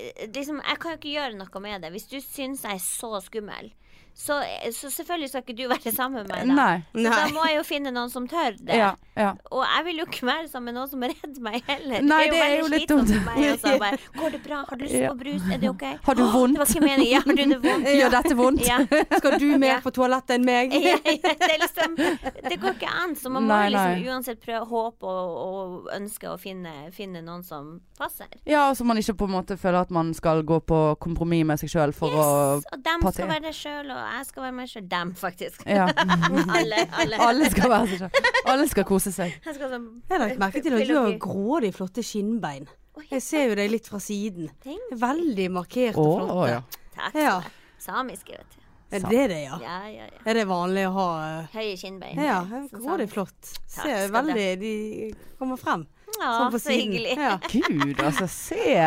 eh, liksom, jeg kan jo ikke gjøre noe med det. Hvis du syns jeg er så skummel, Så, så selvfølgelig skal ikke du være sammen med meg. Da. Nei. Så da Nei. må jeg jo finne noen som tør det. Ja, ja. Og jeg vil jo ikke være sammen med noen som redder meg heller. Nei, det er jo veldig litt dumt. slitsomt for meg også. Bare, Går det bra? Har du lyst Ja. på brus? Er det OK? Har du vondt? Det var ikke meningen. Ja, har du det vondt? Gjør dette vondt? Ja. Skal du Ja. mer på toalettet enn meg? Ja, ja, det, er liksom, det går ikke an. Så man må Nei, liksom nei. uansett prøve håpe og, og ønske å finne, finne noen som passer. Ja, så man ikke på en måte føler at man skal gå på kompromiss med seg sjøl for Yes! Og dem passe- skal være deg sjøl, og jeg skal være meg sjøl. Dem, faktisk. å Ja. Alle. alle. Alle skal være seg sjøl. Alle skal kose seg. Jeg skal sånn Jeg har lagt merke til at du har Filosofi. grådig flotte skinnbein. Oi. Jeg ser jo deg litt fra siden. Tenk. Veldig markert Å og flotte. ja. Takk. Ja. Samiske, vet du. Er det det, ja? Ja, ja, ja. Er det vanlig å ha eh, Høye kinnbein. Sånn Ja, Som grådig samisk. flott. skal Ser du veldig De kommer frem. Ja, Sånn på så siden. hyggelig. Ja. Gud, altså. Se.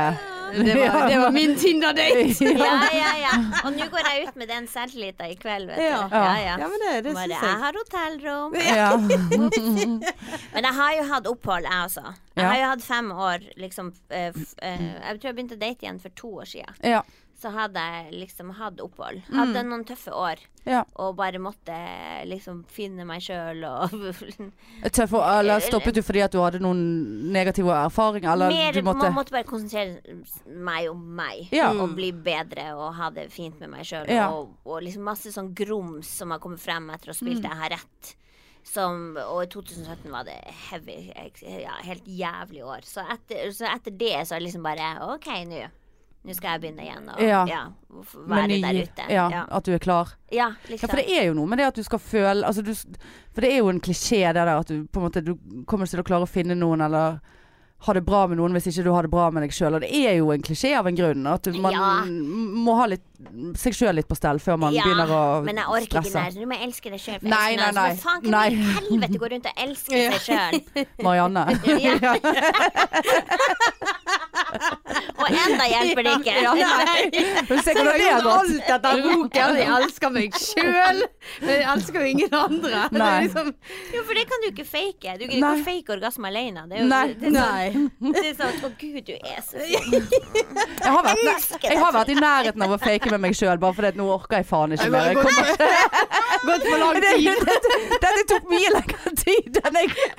Det var, det var min Tinder-date! Ja, ja, ja. Og nå går jeg ut med den selvtilliten i kveld, vet du. Ja. ja. Ja, men det, det Bare, syns jeg jeg. har hotellrom. Ja. Men jeg har jo hatt opphold, jeg også. Jeg Ja. har jo hatt fem år, liksom eh, f- eh, Jeg tror jeg begynte å date igjen for to år siden. ja. Så hadde jeg liksom hatt opphold. Hadde noen tøffe år. ja. Og bare måtte liksom finne meg sjøl og Tøff, og- eller stoppet du fordi at du hadde noen negative erfaringer, eller Mer, du måtte Man måtte bare konsentrere meg om meg. Ja. Og bli bedre og ha det fint med meg sjøl. Ja. Og, og liksom masse sånn grums som har kommet frem etter å ha Mm. spilt Jeg har rett. Som, og i 2017 var det heavy, ja, helt jævlig år. Så etter, så etter det så er det liksom bare OK, nå. Nå skal jeg begynne igjen og ja. Ja. f- med være der ute. Ja, ja. At du er klar. Ja, Ja, liksom. for det er jo noe med det at du skal føle altså du, s- For det er jo en klisjé det der at du på en måte Du kommer ikke til å klare å finne noen eller ha det bra med noen hvis ikke du har det bra med deg sjøl. Og det er jo en klisjé av en grunn. At du, man Ja. m- må ha litt, seg sjøl litt på stell før man ja, begynner å men jeg orker ikke stresse. den der. Nå må jeg elske deg sjøl. Nei, nei, nei. Faen, kan Nei. vi i helvete gå rundt og elske seg sjøl? Marianne. Ja. Ja. Og enda hjelper det ikke. Ja, Men se Jeg har hvordan det har gjort gått. alt etter boken. Jeg elsker meg sjøl, men jeg elsker jo ingen andre. Det er Nei. liksom, Jo, for det kan du ikke fake. Du kan Nei. ikke fake orgasme alene. Det er jo Nei. Det er sånn, nei. det er sånn Å, gud, du er så fin. Jeg har vært, næ- jeg har vært i nærheten av å fake med meg sjøl, bare fordi at nå orker jeg faen ikke Jeg mer. har Jeg kommer gått, gått for lang tid. Dette, dette, dette tok mye lengre tid enn jeg,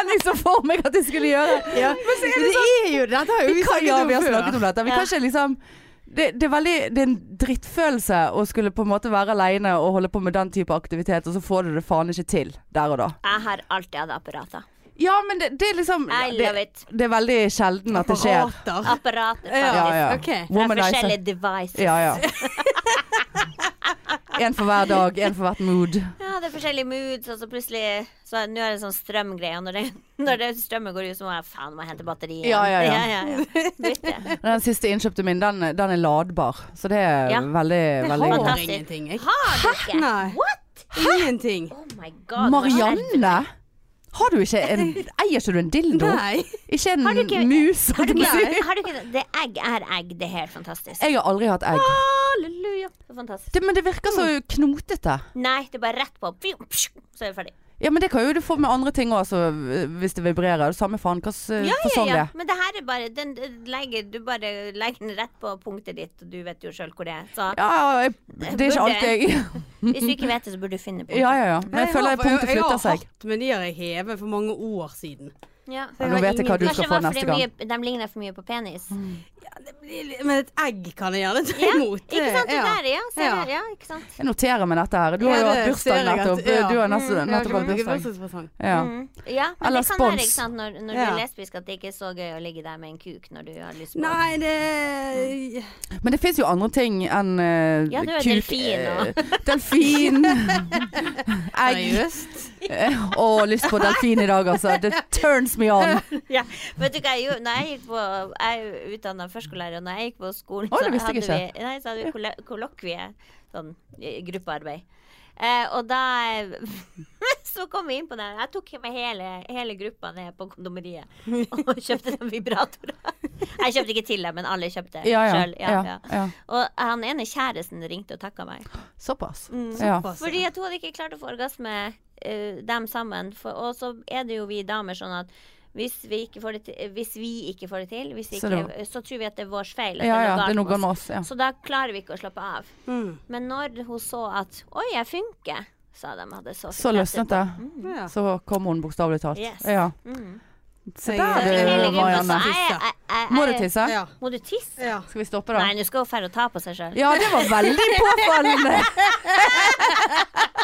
enn jeg så for meg at jeg skulle gjøre. Ja. Men det er jo Dette har jo vi sånn? Vi kan, snakket ja, om vi har før. snakket om dette. Vi Ja. kan ikke liksom det, det, er veldig, det er en drittfølelse å skulle på en måte være aleine og holde på med den type aktivitet, og så får du det faen ikke til der og da. Jeg har alltid hatt apparater. Ja, men det, det er liksom I det, love it. det er veldig sjelden at det skjer. Apparater. Apparater, Ja, Ja, faktisk. ja. Ok. Det er Det er Womanizer. forskjellige devices. Ja, ja. En for hver dag, en for hvert mood. Ja, det er forskjellige moods, og så plutselig Så er- Nå er det sånn strømgreie, og når det, når det strømmen går ut, så må jeg faen meg hente batteri. igjen. Ja, ja, ja. Bytte. Den siste innkjøpte min, den, den er ladbar. Så det er Ja. veldig, Jeg veldig har Fantastisk. ingenting, jeg. Har du ikke? Nei. Ingenting. Oh my god. Marianne! Har du ikke en Eier ikke du en dildo? Nei. Ikke en Har du ikke- mus? Har du, holdt jeg på å si. ikke, har du ikke Det egg er egg. Det er helt fantastisk. Jeg har aldri hatt egg. Halleluja. Det er fantastisk. Det, men det virker så knotete. Nei, det er bare rett på. Pju, psju, Så er vi ferdig. Ja, men det kan jo du få med andre ting òg, hvis det vibrerer. Samme faen hva slags ja, fasong Mm. sånn det er. Men det her er bare den, den legger, Du bare legger den rett på punktet ditt, og du vet jo sjøl hvor det er. Så Ja, ja, jeg, det er ikke Burde. alt jeg hvis du ikke vet det, så burde du finne punktet. Ja, ja, ja. Men jeg føler at punktet flytter Jeg seg. har hatt, men de har jeg hevet for mange år siden. Ja. Ja, nå vet jeg hva du Kanskje skal det få var fordi neste gang. Mm. mye- de ligner for mye på penis. Men et egg kan jeg gjerne ta imot. Ikke sant? Det der, ja. Ser Ja. du? Ja, ikke sant? Jeg noterer meg dette her. Du har Ja, jo det hatt ser bursdag jeg at- nettopp. ja. Du har nesten- Jeg har nettopp ikke hatt fått noen bursdag. bursdagspresang. Ja. Mm. ja men Eller det kan spons. være, ikke sant, når, når du Ja. er lesbisk, at det ikke er så gøy å ligge der med en kuk når du har lyst på Nei, det Men det fins jo andre ting enn eh, Ja, du er kuk, delfin eh, og- delfin. Egg. Eh, Seriøst? Å, lyst på delfin i dag, altså. Det turns me on. Ja. Vet du hva jeg gjorde? Når jeg gikk på Jeg er utdanna førskolelærer, og når jeg gikk på skolen, Å, det visste jeg hadde vi, nei, så hadde vi kolle- kollokvie, sånn i- gruppearbeid. Eh, og da Så kom vi inn på den. Jeg tok med hele, hele gruppa ned på kondomeriet og kjøpte dem vibratorer. Jeg kjøpte ikke til dem, men alle kjøpte Ja, ja. sjøl. ja, ja. Og han ene kjæresten ringte og takka meg. Såpass. Mm. Ja. Pass. Fordi at hun hadde ikke klart å få orgasme eh, dem sammen. For, og så er det jo vi damer sånn at Hvis vi ikke får det til, hvis vi ikke får det til hvis vi Så ikke, det så, tror vi at det er vår feil. at Ja det er ja, noe det er noe galt galt med oss. med oss. Ja. Så da klarer vi ikke å slappe av. Mm. Men når hun så at 'oi, jeg funker', sa de hadde så Så løsnet det. Ja. Så kom hun bokstavelig talt. Yes. Ja. Mm. Se Jeg- der Det er Hele du, jo Marianne. grunnen sa, «Jeg- jeg- jeg- Må du jeg- tisse? Ja. Må du tisse? ja. Skal vi stoppe, da? Nei, nå skal hun dra og ta på seg sjøl. Ja, det var veldig påfallende.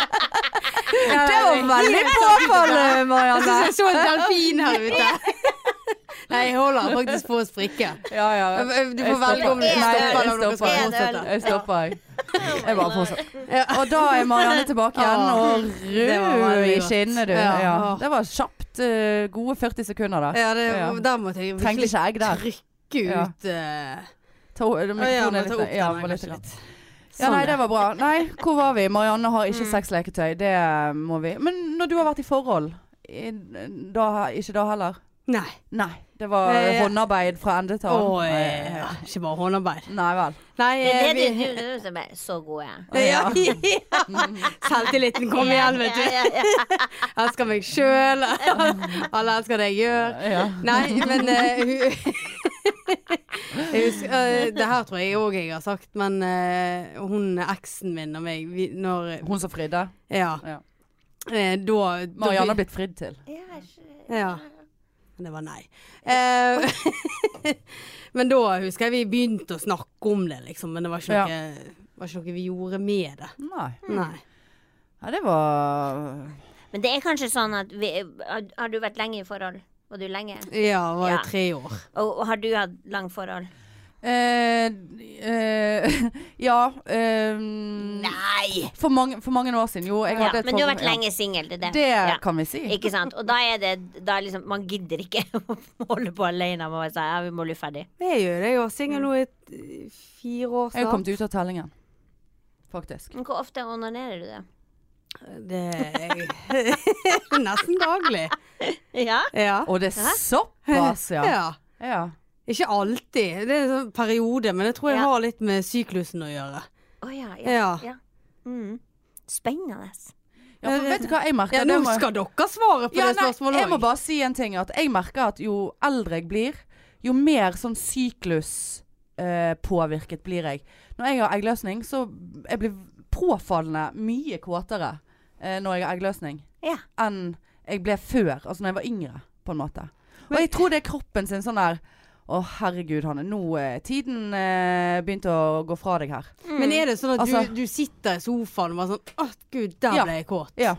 Det var veldig påfallende, Jeg Marianne. synes jeg så en delfin her ute. Nei, jeg holder faktisk på å sprikke. Ja, ja. eh, Du Jeg får velge om du stopper. Nei, stopper eller jeg om du skal stopper. fortsette. Jeg stopper, jeg. Jeg bare fortsetter. Og da er Marianne tilbake igjen, Ja. og Det var rød veldig i godt. skinnet, du. Ja. Ja. Det var kjapt. eh, Gode 40 sekunder der. Ja, det, Ja. der måtte jeg Trengte virkelig ikke egg der. trykke Ja. ut eh, Ta, å ja, mikrofonen må er ta litt opp Ja, den her, bare litt. kanskje grann. litt. Ja, Sånn, nei, ja. det var bra. Nei, hvor var vi? Marianne har ikke Mm. seks leketøy. Det eh, må vi. Men når du har vært i forhold, i, da, ikke da heller? Nei. Nei. Det var Eh, håndarbeid fra ende til Å, annen. eh, ikke bare håndarbeid. Nei vel. Nei, Det er eh, det du- du du som er så god, jeg. du- ja. Selvtilliten kom igjen, vet du. Ja, ja, ja. Jeg elsker meg sjøl. Alle elsker det jeg gjør. Ja. Nei, men eh, hun jeg husker, eh, Det her tror jeg òg jeg har sagt, men eh, hun eksen min og meg vi, når, Hun som fridde. Ja. Ja. Eh, da Marianne har da, blitt fridd til. Ja, så- Ja. Det var nei. Eh, men da husker jeg vi begynte å snakke om det, liksom. Men det var ikke Ja. noe, var ikke noe vi gjorde med det. Nei. Nei. Ja, det var Men det er kanskje sånn at vi, har- Har du vært lenge i forhold? Var du lenge? Ja, det var Ja. i tre år. Og og har du hatt langt forhold? eh, eh, Ja. Eh, Nei! for, mange, for mange år siden. Jo, jeg Ja, hadde et men du har forhold- vært ja. lenge singel, det er det. Det Ja. kan vi si. Ikke sant? Og da er det da er liksom, Man gidder ikke å holde på alene. Man bare sier ja, vi må bli ferdig. Jeg gjør det, jeg var singel nå i eh, fire år Jeg har snart. kommet ut av tellingen, faktisk. Men hvor ofte onanerer du det? Det er nesten daglig. Ja? Ja. Og det er såpass, ja. ja. ja. Ikke alltid. Det er en sånn periode, men jeg tror jeg Ja. har litt med syklusen å gjøre. Å ja. ja. Ja. Ja. Mm. Spennende. ja for vet du hva jeg merker? ja Det nå må jeg- skal dere svare på ja, det nei, spørsmålet Jeg må også. bare si en ting. At jeg merker at jo eldre jeg blir, jo mer sånn syklus eh, påvirket blir jeg. Når jeg har eggløsning, så jeg blir påfallende mye kåtere eh, når jeg har eggløsning, Ja. enn jeg ble før. Altså når jeg var yngre, på en måte. Og Men- jeg tror det er kroppen sin sånn der å, herregud, Hanne. Nå er tiden eh, begynt å gå fra deg her. Men er det sånn at Altså- du, du sitter i sofaen og bare sånn Å, gud, der Ja. ble jeg kåt. Ja.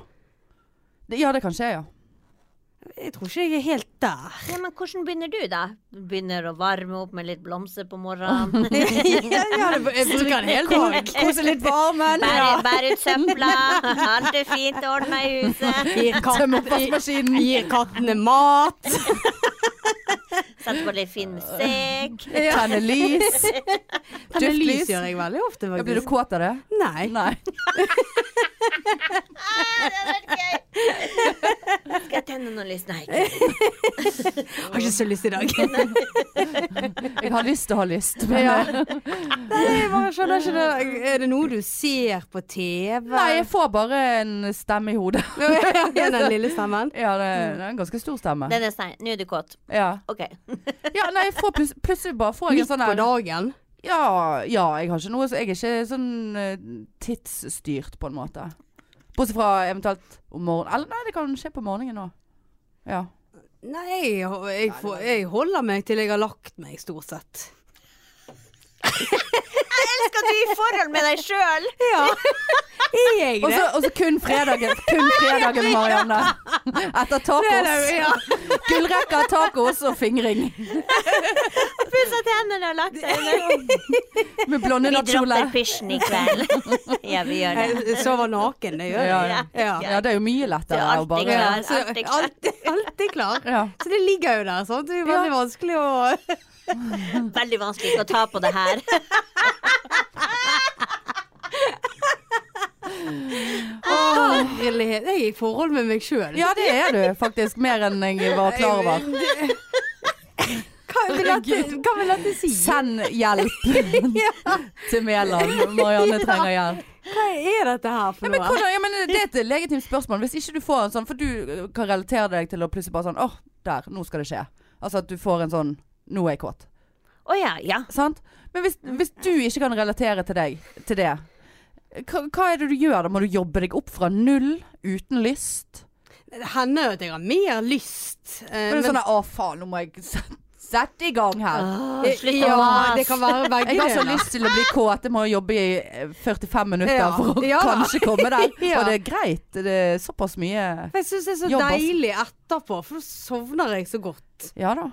Det, ja, det kan skje, ja. Jeg tror ikke jeg er helt der. Ja, men hvordan begynner du, da? Begynner å varme opp med litt blomster på morgenen? ja, ja, det- jeg bruker en hel dag. Kose litt på armen. Bære, bære ut søpla, alt er fint, ordna i huset. Gir, katt, Tømme oppvaskmaskinen. gir kattene mat. Sett på litt fin musikk. Tenne lys. Tenne Duftlys. lys gjør jeg veldig ofte, Ja, blir du faktisk. kåt av det? Nei. Nei. Skal jeg tenne noe lys? Nei. ikke. Har ikke så lyst i dag. Jeg har lyst til å ha lyst, men eh, Ja. Nei, jeg bare skjønner ikke det. Er det noe du ser på TV? Nei, jeg får bare en stemme i hodet. Er den lille stemmen? Ja, det det er en ganske stor stemme. Den er stein. Nå er du kåt. Ja, OK. ja nei, jeg får plutselig, plutselig bare får jeg en Midt sånn på her dagen? ja, ja, jeg har ikke noe så Jeg er ikke sånn eh, tidsstyrt, på en måte. Bortsett fra eventuelt om morgenen. Eller nei, det kan skje på morgenen òg. Ja. Nei, jeg, jeg, får, jeg holder meg til jeg har lagt meg, stort sett. Skal du i forhold med deg sjøl? Ja, er jeg Og det? så- og så kun fredagen, kun fredagen, Marianne. Etter tacos. ja. Gullrekker, tacos og fingring. Pussa tennene og lagt deg Med blonde Vi nattkjole. dropper pysjen i kveld. Ja, vi gjør det. Jeg sover naken, det gjør Ja, jeg. ja. Ja. Ja, det er jo mye Du lettere er å alltid bare klar. Så Alt er klart. alt, alt er klar. ja. Så det ligger jo der, sant. Det er jo veldig vanskelig å Veldig vanskelig ikke å ta på det her. Herlighet. Jeg er i forhold med meg sjøl. ja, det er du faktisk. Mer enn jeg var klar over. Hva vil dette, hva vil dette si? Send hjelp Ja. til Mæland. Marianne trenger hjelp. Hva er dette her for Men noe? hvordan, ja, men det er et legitimt spørsmål. Hvis ikke du får en sånn, for du kan relatere deg til å plutselig bare sånn Åh, der, nå skal det skje. Altså at du får en sånn Nå er jeg kåt. Å ja, ja. Sant? Men hvis, hvis du ikke kan relatere til deg til det, hva, hva er det du gjør da? Må du jobbe deg opp fra null, uten lyst? Det hender jo at jeg har mer lyst. eh, Men, det er sånn der, Å, faen, nå må jeg sette sette i gang her. Åh, Eh, Slutt å Ja, det mase. kan være begge Jeg har så deler. lyst til å bli kåt. Jeg må jobbe i eh, 45 minutter Ja. for å Ja da. kanskje komme der. Ja. Og det er greit. Det er såpass mye For Jeg syns det er så Jobb, ass. deilig etterpå, for da sovner jeg så godt. Ja da.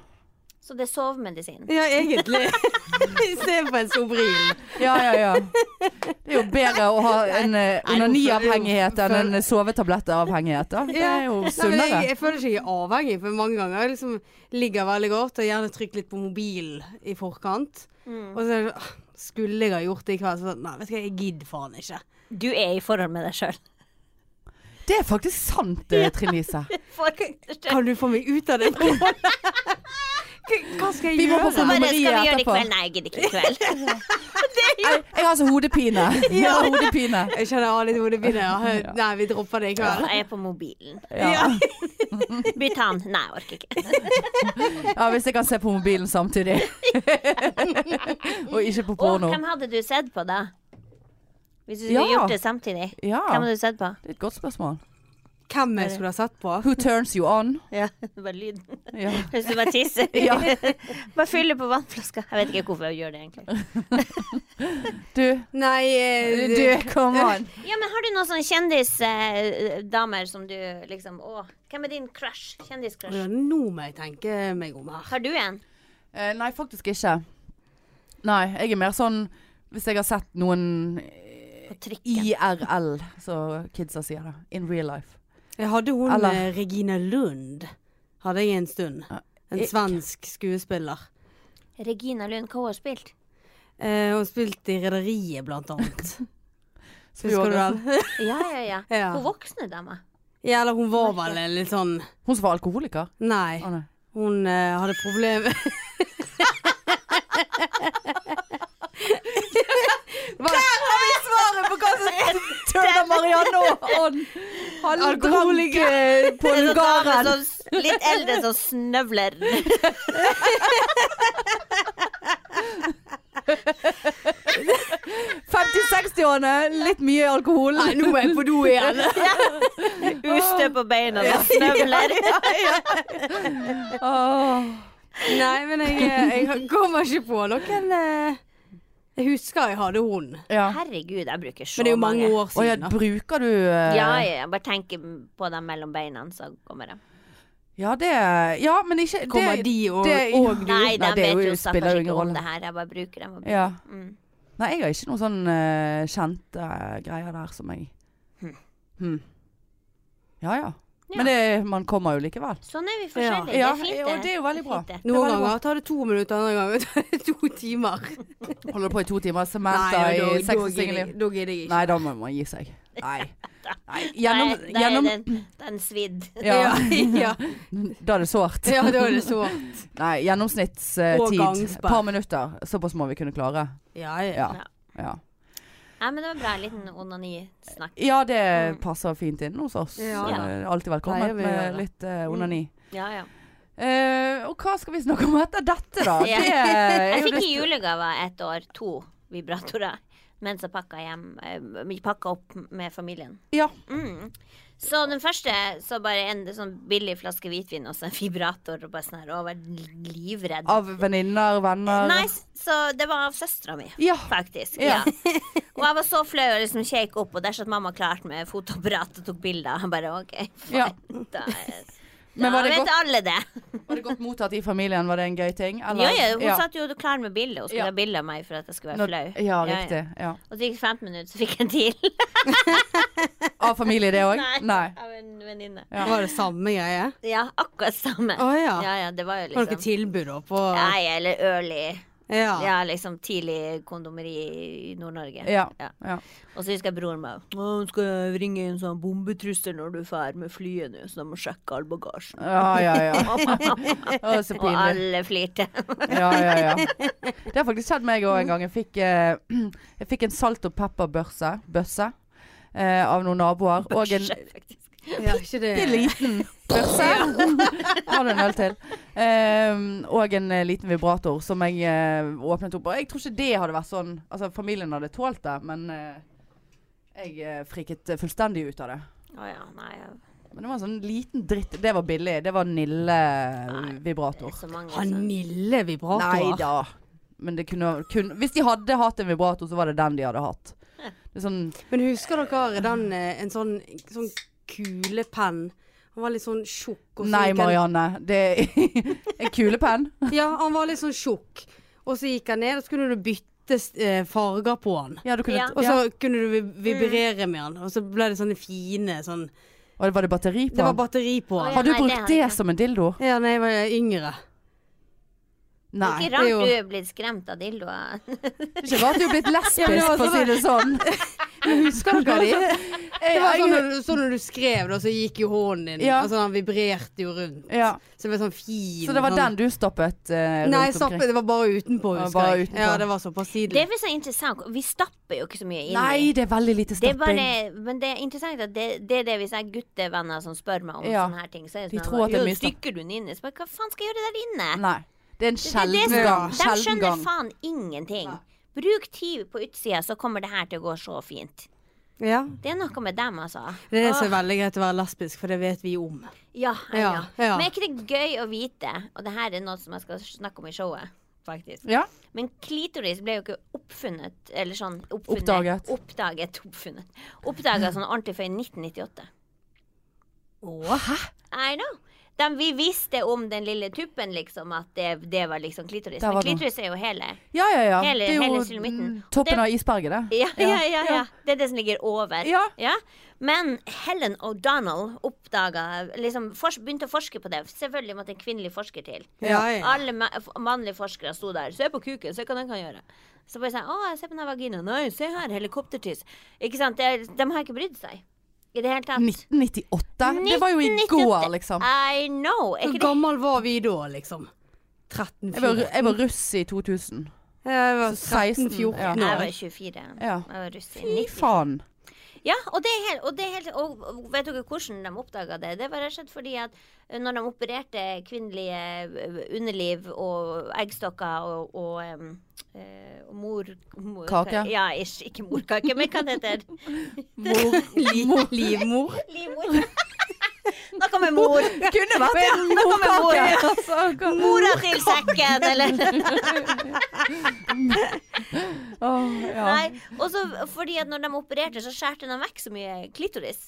Så det er sovemedisin. Ja, egentlig. Istedenfor en Sobril. Ja, ja, ja. Det er jo bedre å ha en eh, Nei, onaniavhengighet hvorfor- enn en eh, sovetablettavhengighet. Da. Det Ja. er jo Nei, men jeg, sunnere. jeg føler ikke jeg er avhengig, for mange ganger jeg liksom ligger veldig godt og gjerne trykker litt på mobilen i forkant. Og så er det sånn «Åh, Skulle jeg ha gjort det i kveld? Så sånn, nei, vet du hva, jeg gidder faen ikke. Du er i forhold med deg sjøl. Det er faktisk sant, eh, Trine Lise. Kan du få meg ut av det? forholdet?» Hva hva skal jeg Vi må gjøre? på Så bare Marie skal vi gjøre det i etterpå. kveld? Nei, jeg gidder ikke i kveld. Jeg, jeg har så hodepine. Jeg har hodepine. Jeg kjenner jeg har litt hodepine. Jeg har- Nei, vi dropper det i kveld. Jeg er på mobilen. Ja. Bytan. Nei, jeg orker ikke. ja, hvis jeg kan se på mobilen samtidig. Og ikke på Og porno. hvem hadde du sett på da? Hvis du Ja. skulle gjort det samtidig. Ja, Hvem det hadde du sett på? er et godt spørsmål. Hvem jeg skulle ha sett på? Who turns you on? Ja, det var lyden. Ja. Hvis du bare tisser. Ja. bare fyller på vannflaska. Jeg vet ikke hvorfor jeg gjør det, egentlig. Du, Nei, eh, du, come on. Ja, men har du noen sånne kjendisdamer som du liksom Å, hvem er din crush? Ja, Kjendiscrush. nå må jeg tenke meg om her. Har du en? Eh, nei, faktisk ikke. Nei, jeg er mer sånn hvis jeg har sett noen På trikken. IRL, som kidsa sier det. In real life. Jeg hadde hun Eller- eh, Regina Lund. Hadde jeg en stund. Ja, En jeg- svensk skuespiller. Regina Lund, hva har hun spilt? Eh, hun spilte i Rederiet, blant annet. Så vi Husker du var- den? Ja, ja, ja. Ja. Hun voksne dama. ja, eller hun var vel en litt sånn Hun som var alkoholiker? Nei. Å, nei. Hun eh, hadde problemer Svaret på hva som turner Marianne on! Alkoholiker. eh, på En sånn dame lugaren. som s- litt eldre som snøvler. årene litt mye alkohol. Nei, nå er jeg på do igjen. Ustø på beina og snøvler. Åh. Nei, men jeg, eh, jeg kommer ikke på noen eh, Jeg husker jeg hadde hun. Ja. Herregud, jeg bruker så Men det er jo mange år Å ja, siden. da. bruker du eh, Ja, ja, ja. Bare tenk på dem mellom beina, så kommer de. ja, det Ja, men ikke Kommer det, de og, det- og du? Nei, de Nei, det er vet jo- spiller jo jo stakkars ingen ikke om rolle. det her. Jeg bare bruker dem. Og bruker. ja. Mm. Nei, jeg har ikke noen sånn eh, kjente greier der som jeg Hm. Ja ja. Ja. Men det, man kommer jo likevel. Sånn er vi forskjellige. Ja, det er fint, og det er jo veldig bra. fint, det. Det var Noen det ganger tar det to minutter, andre ganger tar det to timer. Holder på i to timer. Samantha i sex og singelliv. da gidder jeg Nei, da må man gi seg. Nei. Nei. Nei, Gjennom, da er gjennom den, den svidd. ja, Ja, ja, Da er det sårt. ja, da er det så. Nei, Og gjennomsnittstid. gangsperre. Par minutter. Såpass må vi kunne klare. Ja, ja. Ja. Ja. ja. Nei, men det var bra. En liten onanisnakk. ja det passer fint inn hos oss. Ja. Eh, Alltid Pleier velkommen vi å gjøre. med litt eh, onani. Ja, ja. Eh, og hva skal vi snakke om etter dette, da? Ja. Det er Jeg jo fikk i litt- julegave ett år to vibratorer mens jeg pakka hjem eh, Vi pakka opp med familien. Ja. Mm. Så den første så bare en sånn billig flaske hvitvin og så en vibrator og bare sånn her og var livredd. Av venninner, venner Nei, s- så det var av søstera mi. Ja. Faktisk. Ja. Ja. Og jeg var så flau og liksom kjekk opp, og der satt mamma klart med fotoapparat og tok bilder. Han bare OK, fine. Ja. Da, Men da var det vet godt- alle det. Var det godt mottatt i familien? Var det en gøy ting? Jo, jo, hun satt jo klar med bilde og skulle Ja. ha bilde av meg for at jeg skulle være Når- flau. Ja, riktig. Ja. Og så gikk det 15 minutter, så fikk jeg en til. Av familie, det òg? Nei. Av en venninne. Ja. Var det samme greie? Ja, akkurat samme. Å ja. ja, ja, det var jo Har dere liksom tilbud da på Nei, eller early. Ja. Ja, liksom tidlig kondomeri i Nord-Norge. Ja. ja. Og så husker jeg broren min. Å, hun skal ringe en sånn bombetrussel når du drar med flyet nå, så de må sjekke all bagasjen. Ja, ja, ja. Å, så Og pinlig. alle flirte. Ja, ja, ja. Det har faktisk skjedd meg òg en gang. Jeg fikk, eh, jeg fikk en salt og pepper-børse bøsse, eh, av noen naboer. Og en, Børse, faktisk. Ja, ikke det. bitte liten børse. Har du en øl til? Ehm, og en eh, liten vibrator som jeg eh, åpnet opp. Og jeg tror ikke det hadde vært sånn Altså, familien hadde tålt det, men eh, jeg eh, friket fullstendig ut av det. Å ja, nei. jeg- Men det var en sånn liten dritt. Det var billig. Det var det er Nille-vibrator. Så mange, Han sånn. milde vibratorer. Nei da. Men det kunne, kun- Hvis de hadde hatt en vibrator, så var det den de hadde hatt. Det er sånn Men husker dere den, eh, en sånn, sånn kulepenn? Han var litt sånn tjukk. og så Nei, gikk han- Marianne. Det er en kulepenn. Ja, han var litt sånn tjukk. Og så gikk han ned, og så kunne du bytte eh, farger på han. Ja, du kunne Ja. t- Og ja. så kunne du vi- vibrere med han, og så ble det sånne fine sånn Og var det batteri på Det var den? batteri på Å, han. Har du Nei, det brukt har jeg det ikke. som en dildo? Ja, da jeg var yngre. Det er Nei. ikke det er jo- rart du er blitt skremt av dildoer. Det er ikke rart du er blitt Ja, men det lesbisk, var for å si sånn- det sånn. Husker dere de? Det var sånn Jeg- når, sånn når du skrev, da, så gikk jo hånden din. Ja. Altså, han vibrerte jo rundt. Ja. Så det ble sånn fin. Så det var sånn- den du stoppet Nei, eh, rundt jeg stappet- omkring? det var bare utenpå, Ja, husker bare jeg. utenpå. Ja, det var såpass Det tidlig. er visst interessant. Vi stapper jo ikke så mye inn. i- Nei, det er veldig lite Det er bare, stapping. men det er interessant at det, det er det hvis jeg har guttevenner som spør meg om Ja. sånne her ting. Så er De det tror sånn at det er mye at sånn- Stykker du den inne? Så bare, hva faen skal jeg gjøre der inne? Nei. Det er en Det- det er det sjelden som- gang. De Sjelden skjønner gang. faen ingenting. Bruk tid på utsida, så kommer det her til å gå så fint. Ja. Det er noe med dem, altså. Det er det som Åh, er veldig greit å være lesbisk, for det vet vi om. ja, ja, Ja, ja. Men er ikke det gøy å vite? Og det her er noe som jeg skal snakke om i showet, faktisk. Ja. Men klitoris ble jo ikke oppfunnet Eller sånn oppfunnet, Oppdaget. Oppdaget, oppfunnet. Oppdaget sånn ordentlig før i 1998. Hæ? I know. De, vi visste om den lille tuppen, liksom, at det, det var liksom klitoris. Der var Men den. klitoris er jo hele. Ja, ja, ja. Hele- Det er hele jo mm, sylamitten. toppen Det- av isberget, det. Ja, ja, ja. ja, Det er det som ligger over. Ja. Men Helen O'Donnell oppdaga liksom, fors Begynte å forske på det. Selvfølgelig måtte en kvinnelig forsker til. Ja, ja. Alle ma f- mannlige forskere sto der. Se på kuken, se hva den kan gjøre. Så bare sånn Å, se på den vaginaen. Nei, se her, helikoptertiss. Ikke sant. Det er, de har ikke brydd seg. I det hele tatt. 1998? Det var jo i går, 1998. liksom. I know. Er Hvor ikke det gammel var vi da, liksom? 13 Jeg var, 14. jeg var russ i 2000. Jeg var Så 16, 13-14 ja. Jeg år. var 24. Ja. Jeg var russ i Fy 90. faen. Ja, og det er helt, og det er helt og, og vet dere hvordan de oppdaga det? Det var rett og slett fordi at eh, når de opererte kvinnelige eh, underliv og eggstokker og, og em, eh, og mor, mor Kake. Ja, ish, ikke morkake, men hva det heter det? Mor, li, livmor. Livmor. Noe med mor. Kunne vært en Noe med mor. altså. morkake. Mora til sekken, eller Åh, ja. Nei, og så fordi at når de opererte, så skjærte de vekk så mye klitoris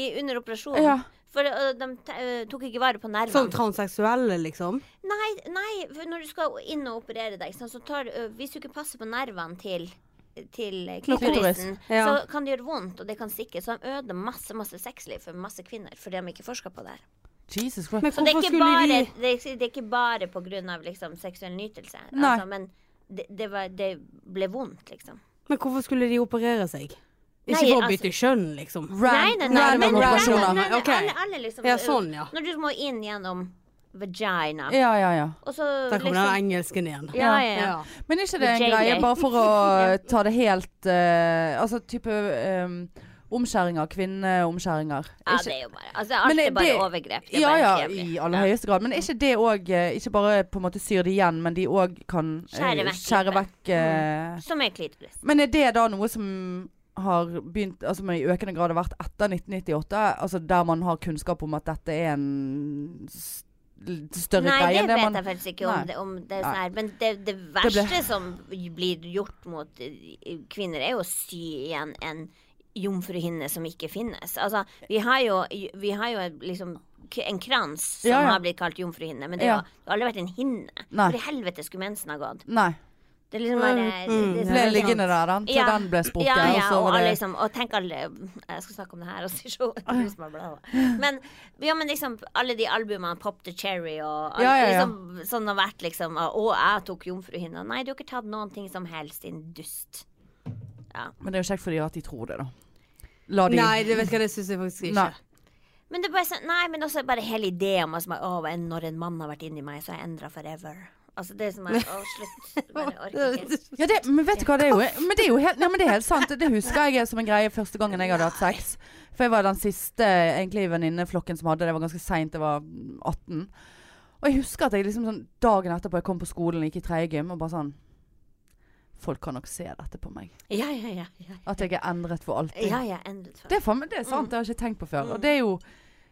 i, under operasjonen. Ja. For ø, de te- ø, tok ikke vare på nervene. Som Sånn transseksuelle, liksom. Nei, nei, for når du skal inn og operere deg, ikke sant, så tar, ø, hvis du ikke passer på nervene til til klitorisen, Ja. så kan det gjøre vondt, og det kan stikke. Så de ødelegger masse masse sexliv for masse kvinner, fordi de ikke forsker på det. her. Jesus Christ. Men Så det er hvorfor ikke skulle bare, de det er, ikke- det er ikke bare på grunn av liksom, seksuell nytelse, Nei. altså, men det, det, var, det ble vondt, liksom. Men hvorfor skulle de operere seg? Ikke Nei, for å altså- bytte kjønn, liksom. Nei, nei, nei. random men- nei, operasjoner. nei, nei, Ok. Alle, alle liksom, Ja, sånn, ja. Når du må inn gjennom vagina, Ja, ja, ja. og så liksom- Der kommer den engelsken igjen. Ja, ja, ja. Ja. Men er ikke det en JJ. greie, bare for å ta det helt eh, Altså type um, omskjæringer, kvinneomskjæringer. Ja, Ikke- det er jo bare Altså, alt Men er det- bare det- overgrep. Det er ja, bare Mm. ja, jævlig. i aller høyeste grad. Men er ikke det òg Ikke bare på en måte syr det igjen, men de òg kan eh, Skjære vekk skjære litt. Mm. vekk eh, Som er klitoris. Men er det da noe som har begynt Altså med i økende grad har vært etter 1998? Altså der man har kunnskap om at dette er en s- l- større Nei, greie det enn vet det man jeg faktisk ikke om Nei. det, om det er Nei. sånn her. Men det, det ble- verste som blir gjort mot eh, kvinner, er jo å sy igjen en jomfruhinne som ikke finnes. Altså, vi har jo, vi har jo et- liksom k- en krans som Ja, ja. har blitt kalt jomfruhinne, men det, Ja. har, det har aldri vært en hinne. Nei. Hvor i helvete skulle mensen ha gått? Nei. Det er liksom bare Mm, det er Ble sånn- liggende der, den. Til Ja. den ble sprukket. Ja, ja, og så og, var det liksom, og tenk alle Jeg skal snakke om det her altså, også i showet. Det er du som har bladet. Men, ja, men liksom alle de albumene, Pop the Cherry og alle, Ja, ja, ja. Liksom, sånn har vært liksom Å, jeg tok jomfruhinna. Nei, du har ikke tatt noen ting som helst, din dust. liksom Men det er jo kjekt for de at de tror det, da. La de Nei, det vet du hva, det syns jeg faktisk ikke. Nei. Men det er bare sånn Nei, men også bare hele ideen om at som er, å, en- når en mann har vært inni meg, så har jeg endra forever. Altså, det er som er Å, slutt. Bare orker ikke. Ja, det, men vet du hva, det er jo, men det er jo helt, nei, men det er helt sant. Det husker jeg som en greie første gangen jeg hadde hatt sex. For jeg var den siste egentlig i venninneflokken som hadde det. Det var ganske seint, jeg var 18. Og jeg husker at jeg liksom sånn dagen etterpå jeg kom på skolen, gikk i tredje gym, og bare sånn Folk kan nok se dette på meg. Ja, ja, ja. ja. At jeg er endret for alltid. Ja, Mm. ja, endret for. Det er, faen meg- det er sant, det har jeg ikke tenkt på før. Og det er jo,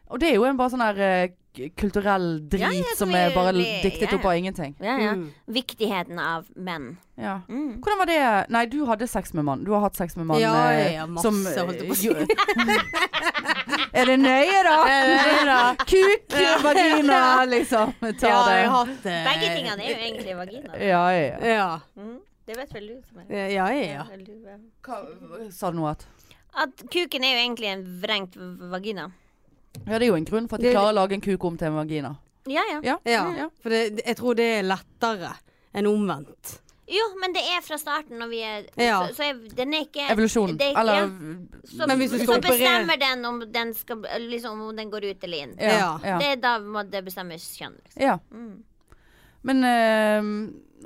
og det er jo en bare sånn her eh, k- kulturell drit Ja, ja, som som er vi- bare vi- diktet ja, opp av ingenting. Ja, ja. Mm. Viktigheten av menn. Ja. Mm. Hvordan var det Nei, du hadde sex med mann. Du har hatt sex med mann. Ja, ja, eh, ja, masse, holdt jeg på å si. Jo- er det nøye, da? Kuk, eh, vagina, liksom. Ta Ja, det. jeg har hatt eh, Begge tingene er jo egentlig vagina. Ja, ja. ja. Ja. Mm. Det vet vel du som er Ja, ja, ja. Vel du, ja. Hva- Sa du noe at At kuken er jo egentlig en vrengt v- vagina. Ja, det er jo en grunn for at de Det- klarer å lage en kuk om til en vagina. Ja, ja. Ja. ja. For det, jeg tror det er lettere enn omvendt. Jo, men det er fra starten når vi er Ja. Så, så er, den er ikke Evolusjon. det er ikke- Eller ja. Så, Men hvis du så skal operere- bestemmer den om den, skal, liksom, om den går ut eller inn. Ja. Ja. ja. Det er da må det bestemmes kjønn. Liksom. ja. Mm. Men eh,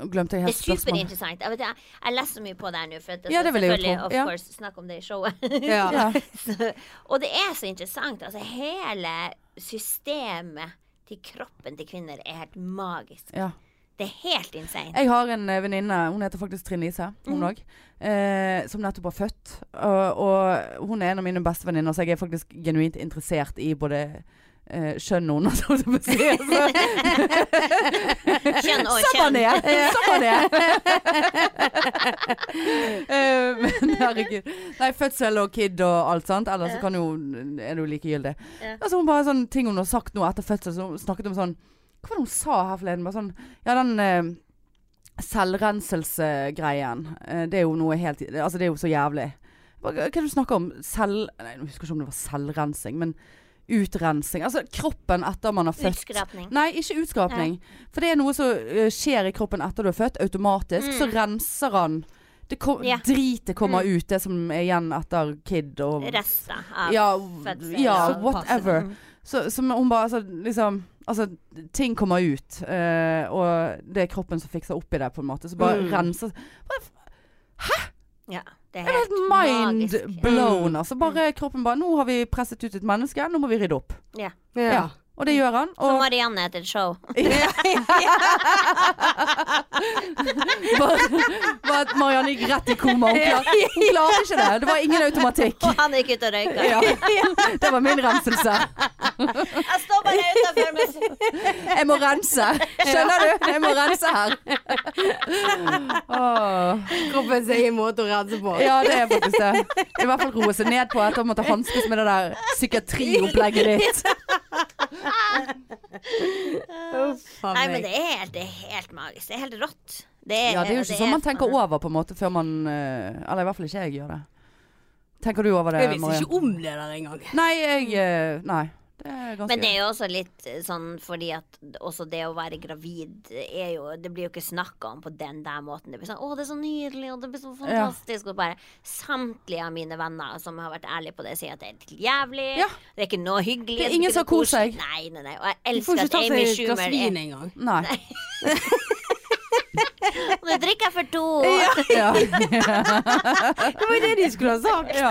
Nå glemte jeg Det helt er spørsmålet. superinteressant. Jeg, vet, jeg, jeg leser så mye på det her nå, for at jeg Ja, skal det vil jeg jo selvfølgelig tro. of Ja. course snakke om det i showet. Ja. Ja. Så- og det er så interessant. Altså, hele systemet til kroppen til kvinner er helt magisk. ja. Det er helt insane. Jeg har en eh, venninne, hun heter faktisk Trine Lise, hun òg, eh, som nettopp har født. Og, og hun er en av mine beste venninner, så jeg er faktisk genuint interessert i både eh, kjønn og hennes, holdt jeg på å si. Altså, Kjønn og Som han kjønn. er! Som han er! Eh, Men herregud. Nei, fødsel og kid og alt sånt, ellers så kan jo er det jo likegyldig. Ja. Altså hun bare sånn ting hun har sagt nå etter fødsel, så hun snakket om sånn Hva var det hun sa her forleden? Bare sånn Ja, den eh, Selvrenselsegreien. eh, Det er jo noe helt Altså, det er jo så jævlig. Hva hva er det du snakker om? Selv... Nei, jeg husker ikke om det var selvrensing, men utrensing. Altså kroppen etter man har født. Utskrapning. Nei, ikke utskrapning. For det er noe som eh, skjer i kroppen etter du er født, automatisk. Så renser han det kom, Mm. Ja. Dritet kommer ut, det som er igjen etter kid og Rester av Mm. ja, fødsel, ja, ja, whatever. Mm. Så, som hun bare altså, liksom Altså, ting kommer ut, eh, og det er kroppen som fikser opp i det, på en måte. Så bare Mm. renser Ja, det er Det er helt, helt magisk. Mm. mind blown. Altså, bare kroppen bare Nå har vi presset ut et menneske, nå må vi rydde opp. Ja. Ja. Og Mm. det gjør han. Som Og Marianne etter et show. bare, bare at Marianne gikk rett i koma. Hun klarte, hun klarte ikke det. Det var ingen automatikk. Og han gikk ut og røyka. Ja. Det var min renselse. Jeg står bare utafor med Jeg må rense. Skjønner du? Jeg må rense her. Åh. Kroppen sin egen måte å rense på. Ja, det er faktisk det. I hvert fall roe seg ned på etter å måtte hanskes med det der psykiatriopplegget ditt. Uff a Nei, men meg. det er helt, det er helt magisk. Det er helt rått. Det er, Ja, det er jo ikke sånn man tenker over på en måte før man eh, Eller i hvert fall ikke jeg gjør det. Tenker du over det, Jeg visste Maria? ikke om det der engang. Nei, jeg eh, Nei. Det er ganske Men det er jo også litt eh, sånn fordi at også det å være gravid eh, er jo Det blir jo ikke snakka om på den der måten. Det blir sånn 'Å, det er så nydelig', og 'det blir så fantastisk', og bare Samtlige av mine venner som har vært ærlige på det, sier at det er helt jævlig. Ja. Det er ikke noe hyggelig. Det er blir ingen ikke som noe koser koselig. seg. Nei, nei, nei. Og jeg Du får elsker ikke at ta seg Amy et glass Schumer vin er engang. Nei. Nå drikker jeg for to! Ja. Det var jo det de skulle ha sagt. ja.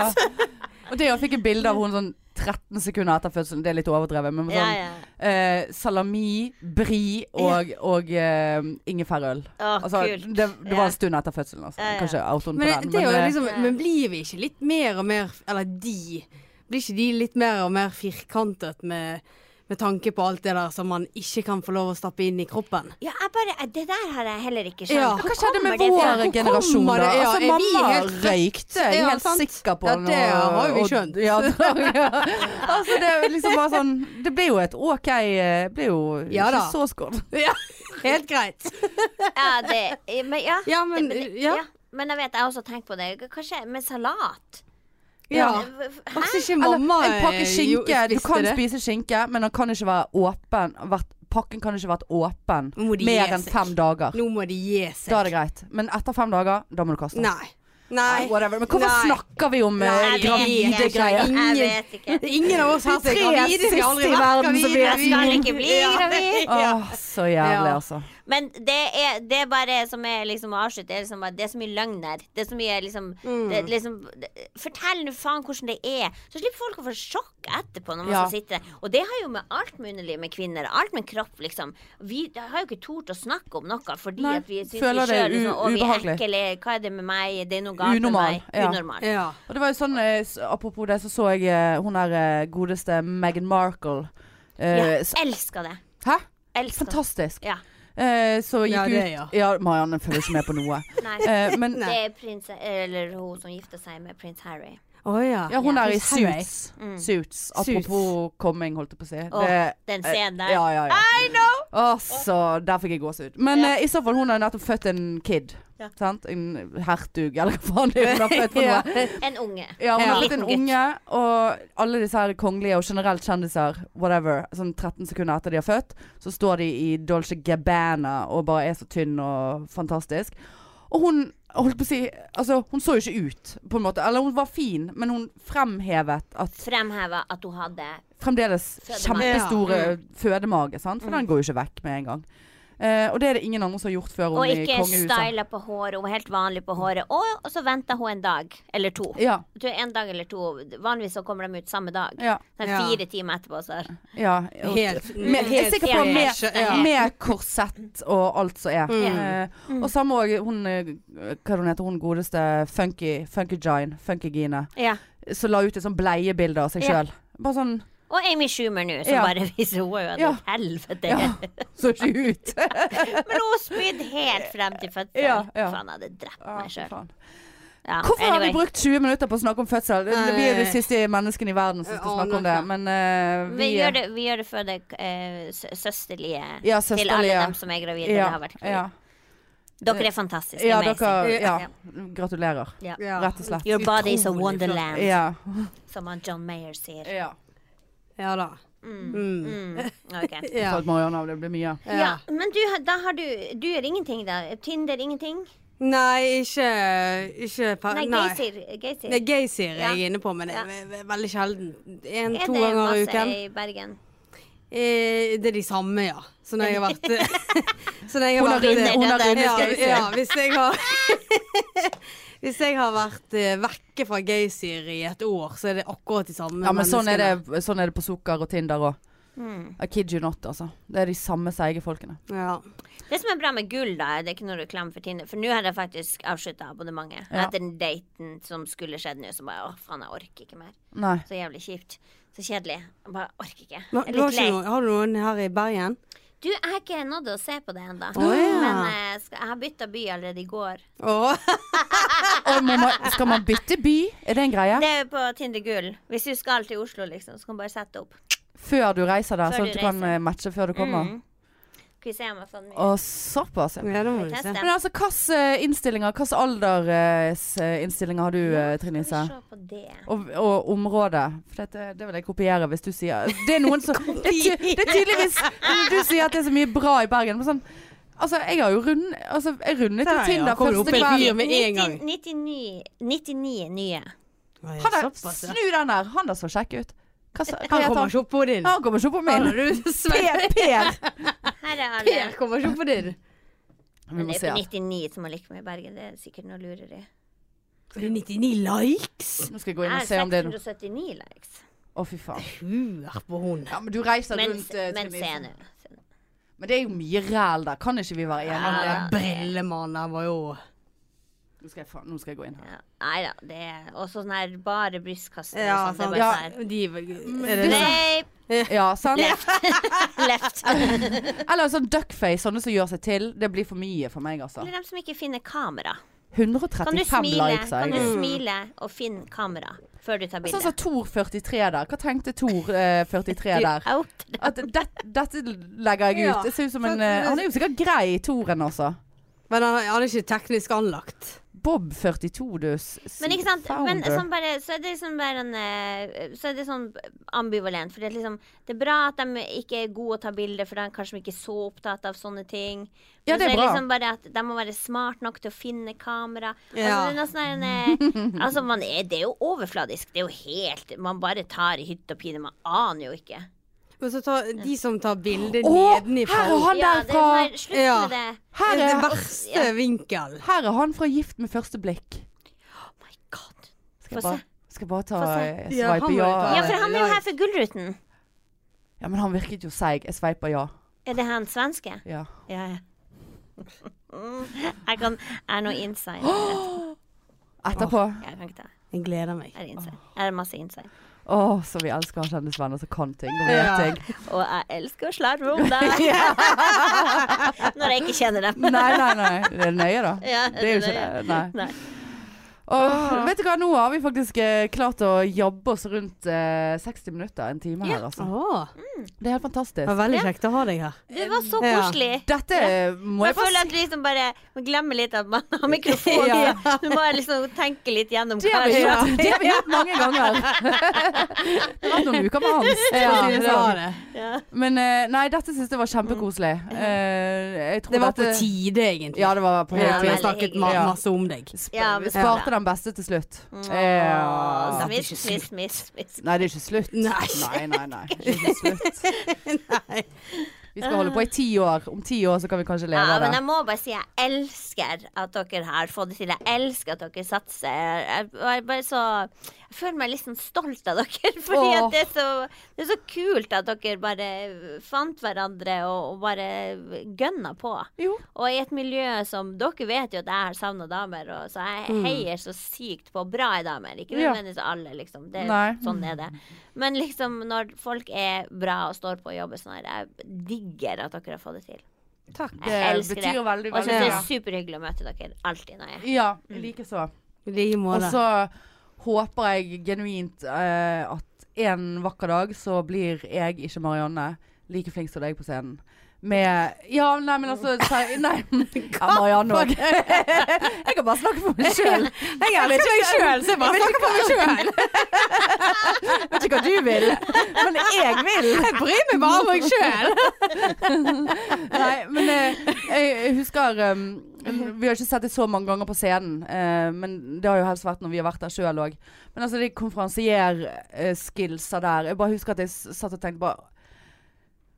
Og det jeg fikk et bilde av hun sånn 13 sekunder etter fødselen, det er litt overdrevet, men sånn Ja, ja. Eh, salami, bri og, og eh, ingefærøl. Å, Altså, det, kult. det var en stund etter fødselen, altså. Ja, ja. Kanskje autoen på Men, den. det, er jo eh, liksom, men blir vi ikke litt mer og mer Eller de. Blir ikke de litt mer og mer firkantet med, med tanke på alt det der som man ikke kan få lov å stappe inn i kroppen? Ja, jeg bare eh, Det der har jeg heller ikke skjønt. Ja. Hvor hva skjedde kommer med det fra? vår Hvor generasjon, kommer da? det? Ja, altså, er vi mamma helt røykte. Jeg er Ja, helt sant. sikker på Ja, det har jo vi og- skjønt. Ja, det- ja. Altså, det er liksom bare sånn Det blir jo et OK eh, Blir jo Ja ikke da. så skål. Ja, helt greit. Ja, det Men ja. Ja, men det- men det- ja. Men jeg vet, jeg har også tenkt på det. Kanskje med salat? Ja. Hæ? Faktisk ikke Eller mamma en pakke eh, jo skinke. Du spiste kan det. spise skinke, men den kan ikke være åpen. vært- Pakken kan ikke vært åpen Nå må de mer gi enn seg. fem dager. Nå må de gi Da er seg. det greit. Men etter fem dager, da må du kaste den. Nei. Nei. Nei, whatever. Men hvorfor Nei. snakker vi om eh, Nei, Jeg vet gravide ikke. greier? Jeg vet ikke. Det er Ingen av oss her som er Tre gravide. Vi har siste aldri i vært verden som gravide. blir- Jeg skal ikke bli gravid. Åh, Så jævlig, Ja. altså. Men det er, det er bare som er liksom avslutt. Det er, liksom bare, det er så mye løgn der. Det er så mye liksom, Mm. det, er liksom det- Fortell nå faen hvordan det er. Så slipper folk å få sjokk etterpå når man Ja. skal sitte der. Og det har jo med alt mulig med kvinner, alt med kropp, liksom. Vi har jo ikke tort å snakke om noe fordi Nei, at vi syns føler vi det er sjøl liksom, u- Å, vi er ubehagelig. ekle. Hva er det med meg? Det er noe galt med Unormal, meg. ja. Unormal. Ja. Og det var jo sånn, eh, s- Apropos det, så så jeg eh, hun der eh, godeste Meghan Markle. Eh, Ja, s- elsker det. Hæ? Elsker det. Fantastisk. Ja. Eh, så gikk Ja, det, ut ja. Marianne følger ikke med på noe. Nei. Eh, men Det er prins, eller hun som gifter seg med prins Harry. Å ja. ja, hun Ja. er i Prins Harry. suits. Suits. Apropos coming, holdt jeg på å si. Mm. Åh, Det- den eh, scenen der. Ja, ja, ja. I know! Altså, der fikk jeg gåsehud. Men Ja. eh, i så fall, hun har nettopp født en kid. Ja. Sant? En hertug, eller hva faen det er hun har født for noe. En unge. Ja, hun Ja. har fått en Liten gutt. unge, og alle disse her kongelige og generelt kjendiser, whatever, sånn 13 sekunder etter de har født, så står de i Dolce Gabbana og bare er så tynn og fantastisk. Og hun holdt på å si Altså, hun så jo ikke ut, på en måte. Eller hun var fin, men hun fremhevet at Fremheva at hun hadde fremdeles Fødemage. kjempestore Ja. fødemage, sant? for den går jo ikke vekk med en gang. Eh, og det er det ingen andre som har gjort før hun Og i ikke kongehuset. styla på håret. Hun var helt vanlig på håret. Og, og så venta hun en dag eller to. Ja, Jeg tror en dag eller to. Vanligvis så kommer de ut samme dag. ja, Sånn Ja. Fire timer etterpå. Så. er- ja. Helt, Mm. Med, jeg er sikker på helt- med, helt- ja. med korsett og alt som er. Mm. Eh, og samme òg hun eh, Hva hun heter hun godeste Funky Funky Gine, Funky Gine, Ja. som la ut et sånn bleiebilde av seg Ja. sjøl. Bare sånn Og Amy Schumer nå, som Ja. bare viser hun er jo Ja. et helvete. Ja, så ikke ut. Men hun spydde helt frem til fødsel. Ja, ja. Faen, jeg hadde drept Ja, meg sjøl. faen. Ja, Hvorfor har vi anyway. brukt 20 minutter på å snakke om fødsel? Det- Vi er jo de Nei. siste menneskene i verden som skal Jeg snakke om det, aner men eh, vi, vi eh, gjør det, vi gjør det for det eh, sø- søsterlige Ja, til alle søsterlige. dem som er gravide eller Ja, har vært gravide. ja. Dere er fantastiske. ja, amazing. dere Ja. Ja. Gratulerer, Ja. Ja. rett og slett. Your body is a Utrolig flott. wonderland, Ja. som han John Mayer sier. ja. Ja da. Eh, Mm. Mm, ok. Ja. Falt Marianne av, det blir mye. Ja, men du, har- da har du Du gjør ingenting, da? Tinder, ingenting? Nei, ikke, ikke per- Nei, Ah, nei. Geysir. Geysir. Det er Geysir jeg Ja. er inne på, men det Ja. er ve- ve- veldig sjelden. En, Er to det ganger i masse uken. i Bergen? Eh, det er de samme, ja. Så når jeg har vært så når jeg Hun har har vært- rundet, hun har det- rundet ja, Geysir. ja, hvis jeg har Hvis jeg har vært eh, vekke fra Geysir i et år, så er det akkurat de samme Ja, men sånn er, menneskene. det, sånn er det på sukker og Tinder òg. Mm. I kid you not, altså. Det er de samme seige folkene. Ja. Det som er bra med gull, da, det er ikke noe reklame for Tinder, for nå har jeg faktisk avslutta abonnementet. Ja. Etter den daten som skulle skjedd nå, så bare å, faen, jeg orker ikke mer. Nei. Så jævlig kjipt. Så kjedelig. Jeg bare orker ikke. Men, Jeg er du har, litt ikke lei. noen, har du noen her i Bergen? Du, jeg har ikke nådd å se på det ennå. ja. Men eh, skal, jeg har bytta by allerede i går. Åh. Og må man, skal man bytte by? Er det en greie? Det er på Tinder Gull. Hvis du skal til Oslo, liksom, så kan du bare sette opp. Før du reiser der, Før sånn du at du kan reiser. eh, matche før du kommer? Mm. Skal vi se om jeg fant den. Og såpass, ja. Ja, det må du Vi se. tester. Men altså, hvilke innstillinger, hvilke aldersinnstillinger har du, eh, Trine Lise? Skal vi se på det. Og, og område. For dette, det vil jeg kopiere hvis du sier Det er noen som Det, er ty- det er tydeligvis Du sier at det er så mye bra i Bergen. Men sånn Altså, jeg har jo rund, altså, jeg rundet jo Der, ja. Tinder Kommer opp første en kveld. fyr med en gang. 90 99, 99 nye. Åh, ja, Han der, såpass, ja. snu den der. Han der så kjekk ut. Hva, sa- hva Han heter kommer han? ikke opp på din. Han kommer ikke på min. Har du Sven Per. per. Her er alle. Per kommer ikke opp på din. Vi Men må det se. er på 99 som har likt meg i Bergen. Det er sikkert noe lureri. Det er 99 likes! Nå skal jeg gå Jeg inn har og se om det er noe 679 likes. Å, fy faen. Huer på hun. Ja, men du reiser Men, rundt eh, men Trine se Isen. nå. Se nå. Men det er jo mye ræl der. Kan ikke vi være enige om det? Ja. Brillemannen var jo Nå skal jeg, faen, nå skal jeg gå inn her. Ja. Nei da, det er Og sånn her bare brystkasse. og sånn. Det Ja, er bare sånn her. de er det det? Rape, Ja, sant? left. Eller sånn duckface, sånne som gjør seg til. Det blir for mye for meg, altså. Eller dem som ikke finner kamera. Kan du 135 smile, likes har kan jeg. du smile og finne kamera før du tar Sånn som bilde? Tor 43 der. Hva tenkte Tor eh, 43 der? Out. At det, dette legger jeg Ja. ut. Det ser ut som en eh, Han er jo sikkert grei, Toren, altså. Men han, han er ikke teknisk anlagt. Bob 42, du. s- Men ikke sant, men founder. sånn bare, så er det liksom bare en eh, Så er det sånn ambivalent. For det er liksom Det er bra at de ikke er gode å ta bilder, for da er de kanskje ikke så opptatt av sånne ting. Men Ja, det er så er det bra. liksom bare at de må være smart nok til å finne kamera. Ja. Altså, det er nesten en, eh, altså man er, det er jo overfladisk. Det er jo helt Man bare tar i hytt og pine. Man aner jo ikke. Men så tar de som tar bildet Å, nedenifra her er han ja, der det fra må jeg- Slutt Ja. med det. Det her er er, den verste vinkel. her er han fra Gift med første blikk. Oh my god. Skal jeg Få bare, se. skal jeg bare ta Få se. eh, Ja, han sveipe må ja? jo ta Ja, eller- for han er jo her for Gullruten. Ja, men han virket jo seig. Jeg sveiper ja. Er det han svenske? ja. Ja, ja. Jeg kan Jeg er noe inside. Etterpå. Jeg kan ikke ta det. Jeg gleder meg. Jeg er inside. Jeg er masse inside. Å, så vi elsker å ha kjendisvenner som kan ting og vet Ja. ting. Og jeg elsker å slarve om deg. Når jeg ikke kjenner dem. Nei, nei, nei. Det er nøye, da. Ja, Det er jo ikke nøye. det. Nei. Nei. Åh, vet du hva, nå har vi faktisk eh, klart å jabbe oss rundt eh, 60 minutter, en time her, altså. Åh, Det er helt det var fantastisk. veldig Ja. kjekt å ha deg her. Det var så Ja. koselig. Dette må jeg Jeg bare føler si. at liksom bare man glemmer litt at man har mikrofon. Du må liksom tenke litt gjennom Det har hva vi det gjort, det har vi gjort mange ganger. Det har vært noen uker med Hans. for å Ja, si det det sånn. var det. Ja. Men eh, nei, dette syns jeg var kjempekoselig. Eh, jeg tror Det var på dette- tide, egentlig. Ja, det var på Vi høy Ja, tid. har veldig snakket ma hyggelig. masse om deg. Sp Ja, men- sparte den beste til slutt. Mm. Åh, Ja. Smisk, smisk, smisk. smisk. Nei, det er ikke slutt. Nei. nei, nei. nei. Det er ikke slutt. Nei. Vi skal holde på i ti år. Om ti år så kan vi kanskje leve Ja, av men det. jeg må bare si jeg elsker at dere har fått det til. Jeg elsker at dere satser. Jeg, og jeg, bare så, jeg føler meg litt sånn stolt av dere. Åh. Fordi at det, er så, det er så kult at dere bare fant hverandre og, og bare gønna på. Jo. Og i et miljø som Dere vet jo at jeg har savna damer, og, så jeg heier så sykt på bra i damer. Ikke Mm. Ja. nødvendigvis alle, liksom. Det, Nei. sånn er det. Men liksom når folk er bra og står på og jobber sånn her, jeg digger at dere har fått det til. Takk. Jeg Det elsker betyr det. veldig, veldig Og jeg synes Mm. det mye. er superhyggelig å møte dere. Alltid nøye. Ja, likeså. I like Og måte. så håper jeg genuint eh, at en vakker dag så blir jeg, ikke Marianne, like flink som deg på scenen. Med Ja, nei, men altså se- Nei. Ja, Marianne òg. Jeg kan bare snakke for meg sjøl. Jeg er ikke sånn meg sjøl, så jeg bare snakker for meg sjøl. Vet ikke hva du vil, men jeg vil. Jeg bryr meg bare om meg sjøl. Nei, men eh, jeg, jeg husker um, Vi har ikke sett det så mange ganger på scenen, eh, men det har jo helst vært når vi har vært der sjøl òg. Men altså de konferansierskillsa der Jeg bare husker at jeg s- satt og tenkte bare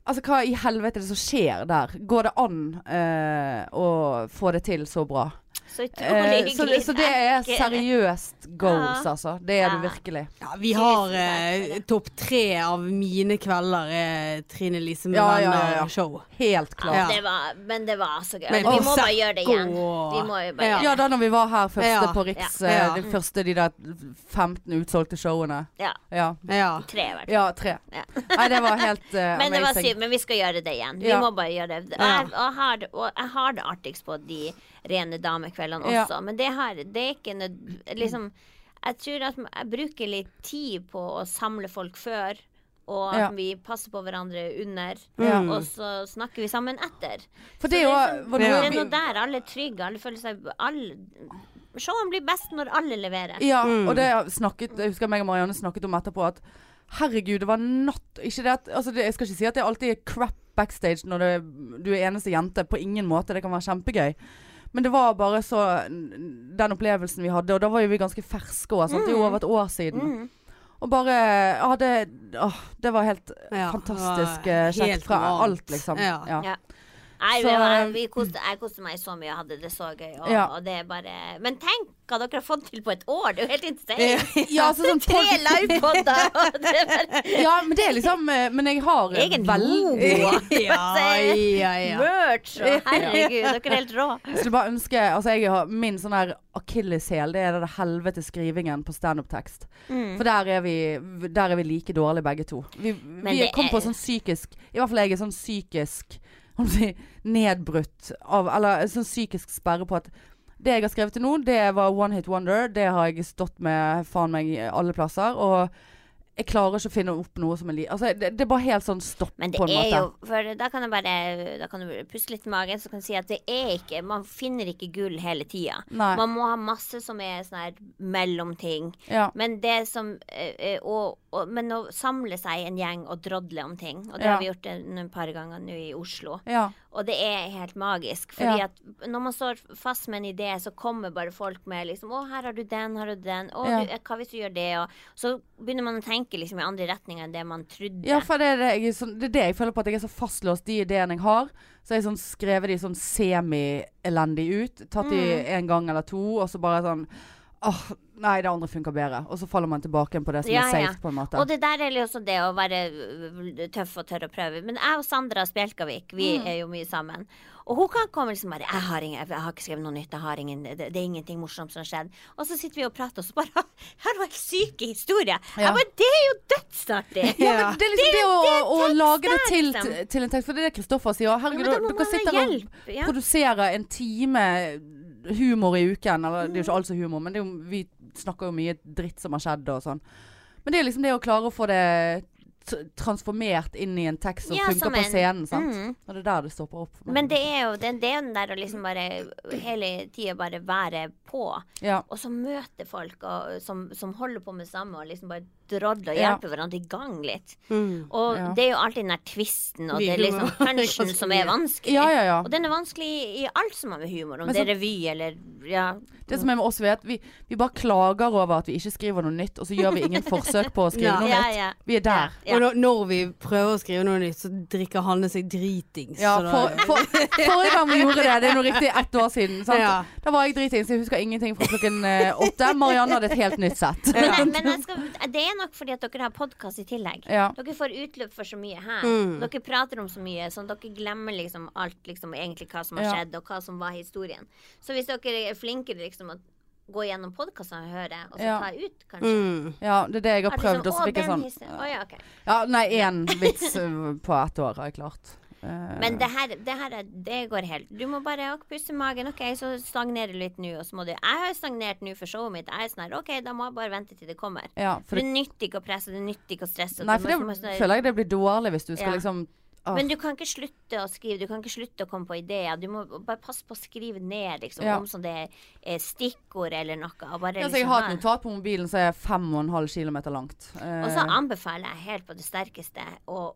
Altså, hva i helvete er det som skjer der? Går det an eh, å få det til så bra? Så Eh, utrolig så, hyggelig. så det er Takk. seriøst goals, Ja. altså. Det er det Ja. virkelig. Ja, vi har eh, topp tre av mine kvelder er Trine Lise med Ja, ja, ja, ja. venner-show. Helt klart. Ja, det var, men det var så gøy. Men- vi må Å, bare gjøre det igjen. sekko. Vi må jo bare Ja. gjøre det. Ja, da når vi var her første Ja. på Riks, Ja. eh, Ja. de første de der 15 utsolgte showene. Ja, Ja. Ja. tre i hvert fall. Ja, tre. Ja. Nei, det var helt eh, Men det var amazing. syv, men vi skal gjøre det igjen. Vi Ja. må bare gjøre det. Og Ja. jeg, og jeg har, det- og jeg har det artigst på de rene damekveldene Ja. også, men det, har, det er ikke nød... Liksom, jeg tror at jeg bruker litt tid på å samle folk før. Og at Ja. vi passer på hverandre under, Ja. og så snakker vi sammen etter. For Så det er jo- liksom- var det- det er noe der alle er trygge, alle føler seg alle, Showene blir best når alle leverer. Ja, og det snakket, jeg husker meg og Marianne snakket om etterpå at herregud, det var natt Ikke det at altså det, Jeg skal ikke si at det alltid er crap backstage når det, du er eneste jente. På ingen måte. Det kan være kjempegøy. Men det var bare så Den opplevelsen vi hadde, og da var jo vi ganske ferske òg. Det er jo over et år siden. Og bare Ja, det åh, Det var helt Ja, fantastisk det var eh, helt kjekt fra varmt. alt, liksom. Ja. Ja. Ja. um, Nei, Så, vi var, eh, vi koste, jeg koste meg så mye og hadde det så gøy. Og, Ja. og det er bare Men tenk hva dere har fått til på et år! Det er jo helt insane! Ja. Ja, altså, sånn Tre pod- livepoder! og det er bare- Ja, men det er liksom eh, Men jeg har Jeg er en veldig homo. Ja, ja, ja. Merch! og Herregud, dere er helt rå. Jeg skulle bare ønske Altså, jeg har min sånn her akilleshæl, det er den helvete skrivingen på standup-tekst. Mm. For der er, vi, der er vi like dårlige begge to. Vi, vi det kom på er- sånn psykisk I hvert fall jeg er sånn psykisk om å si, nedbrutt av Eller en sånn psykisk sperre på at det jeg har skrevet til nå, det var one hit wonder. Det har jeg stått med faen meg alle plasser. Og jeg klarer ikke å finne opp noe som er li... Altså, det, det er bare helt sånn stopp, Men det på en er måte. jo For da kan jeg bare Da kan du puste litt i magen, så kan du si at det er ikke Man finner ikke gull hele tida. Nei. Man må ha masse som er sånn her mellomting. Ja. Men det som eh, eh, å- å- Men å samle seg en gjeng og drodle om ting, og det Ja. har vi gjort en, en par ganger nå i Oslo. ja. Og det er helt magisk. Fordi Ja. at når man står fast med en idé, så kommer bare folk med liksom Å, her har du den, her har du den. Å, Ja. du, eh, hva hvis du gjør det? Og så begynner man å tenke tenker liksom i andre retninger enn det man trodde. Ja, for det er det, jeg er sånn, det er det jeg føler på, at jeg er så fastlåst de ideene jeg har. Så har jeg sånn skrevet de sånn semi-elendig ut. Tatt de Mm. en gang eller to, og så bare sånn Åh, nei, det andre funker bedre. Og så faller man tilbake på det som Ja, er safe, ja. på en måte. Og det der er jo også det å være øh, tøff og tørre å prøve. Men jeg og Sandra Spjelkavik, vi Mm. er jo mye sammen. Og hun kan komme liksom bare jeg har, ingen, 'Jeg har ikke skrevet noe nytt. Jeg har ingen, det, det er ingenting morsomt som har skjedd.' Og så sitter vi og prater, og så bare 'Her var helt syke historier.' Ja. Jeg bare 'Det er jo dødsartig!' Ja, Ja. men det er liksom det, å, å lage det til, liksom. til en tekst. For det er det Kristoffer sier. Herregud, Ja, men da må dere man ha sitter og hjelp, ja. produserer en time humor i uken. Eller det er jo Mm. ikke alt som er humor, men det er jo, vi snakker jo mye dritt som har skjedd og sånn. Men det er liksom det å klare å få det t- transformert inn i en tekst som Ja, funker som på en- scenen. Sant? Mm. Og det er der det stopper opp for meg. Men det er jo det, det er jo den der å liksom bare hele tida bare være på. ja. Og så møte folk og, øh, som, som holder på med det samme, og liksom bare drodle og Ja. hjelpe hverandre i gang litt. Mm. Og Ja. det er jo alltid den der tvisten og Vi det er liksom humor- punchen ganske som er mye. vanskelig. ja, ja, ja. Og den er vanskelig i alt som har med humor om Men det så- er revy eller ja. Det som er med oss, vi er at vi, vi bare klager over at vi ikke skriver noe nytt, og så gjør vi ingen forsøk på å Ja. skrive noe ja, nytt. ja. Vi er der. Ja. Og når, når vi prøver å skrive noe nytt, så drikker Hanne seg dritings. Ja, så da- for, for, forrige gang vi gjorde det, det er noe riktig ett år siden. Sant? Ja. Da var jeg dritings, jeg husker ingenting fra klokken eh, åtte. Marianne hadde et helt nytt sett. Men, jeg- men jeg skal, det er nok fordi at dere har podkast i tillegg. Ja. Dere får utløp for så mye her. Mm. Dere prater om så mye, sånn at dere glemmer liksom alt liksom egentlig hva som har Ja. skjedd, og hva som var historien. Så hvis dere er flinkere liksom å gå gjennom podkastene og høre, og så Ja. ta ut, kanskje Mm. ja, det er det jeg har At prøvd. Og så «Å, fikk jeg den sånn historien- Å, ja, ok. Ja, nei, én vits eh, på ett år har jeg klart. Eh, Men det her, det her er- det går helt Du må bare ok, puste magen. OK, så stagnerer du litt nå, og så må du Jeg har stagnert nå for showet mitt. Jeg er sånn her OK, da må jeg bare vente til det kommer. ja, for For det det, nytter ikke å presse, det nytter ikke å stresse. og nei, du for må- så må det sånn her- føler jeg det blir dårlig hvis du skal Ja. liksom ah, Men du kan ikke slutte å skrive, du kan ikke slutte å komme på ideer. Du må bare passe på å skrive ned liksom, Ja. om sånn det er eh, stikkord eller noe. Og, bare, ja, så liksom, Jeg har ha- et notat på mobilen som er fem og en halv kilometer langt. Eh, og så anbefaler jeg helt på det sterkeste å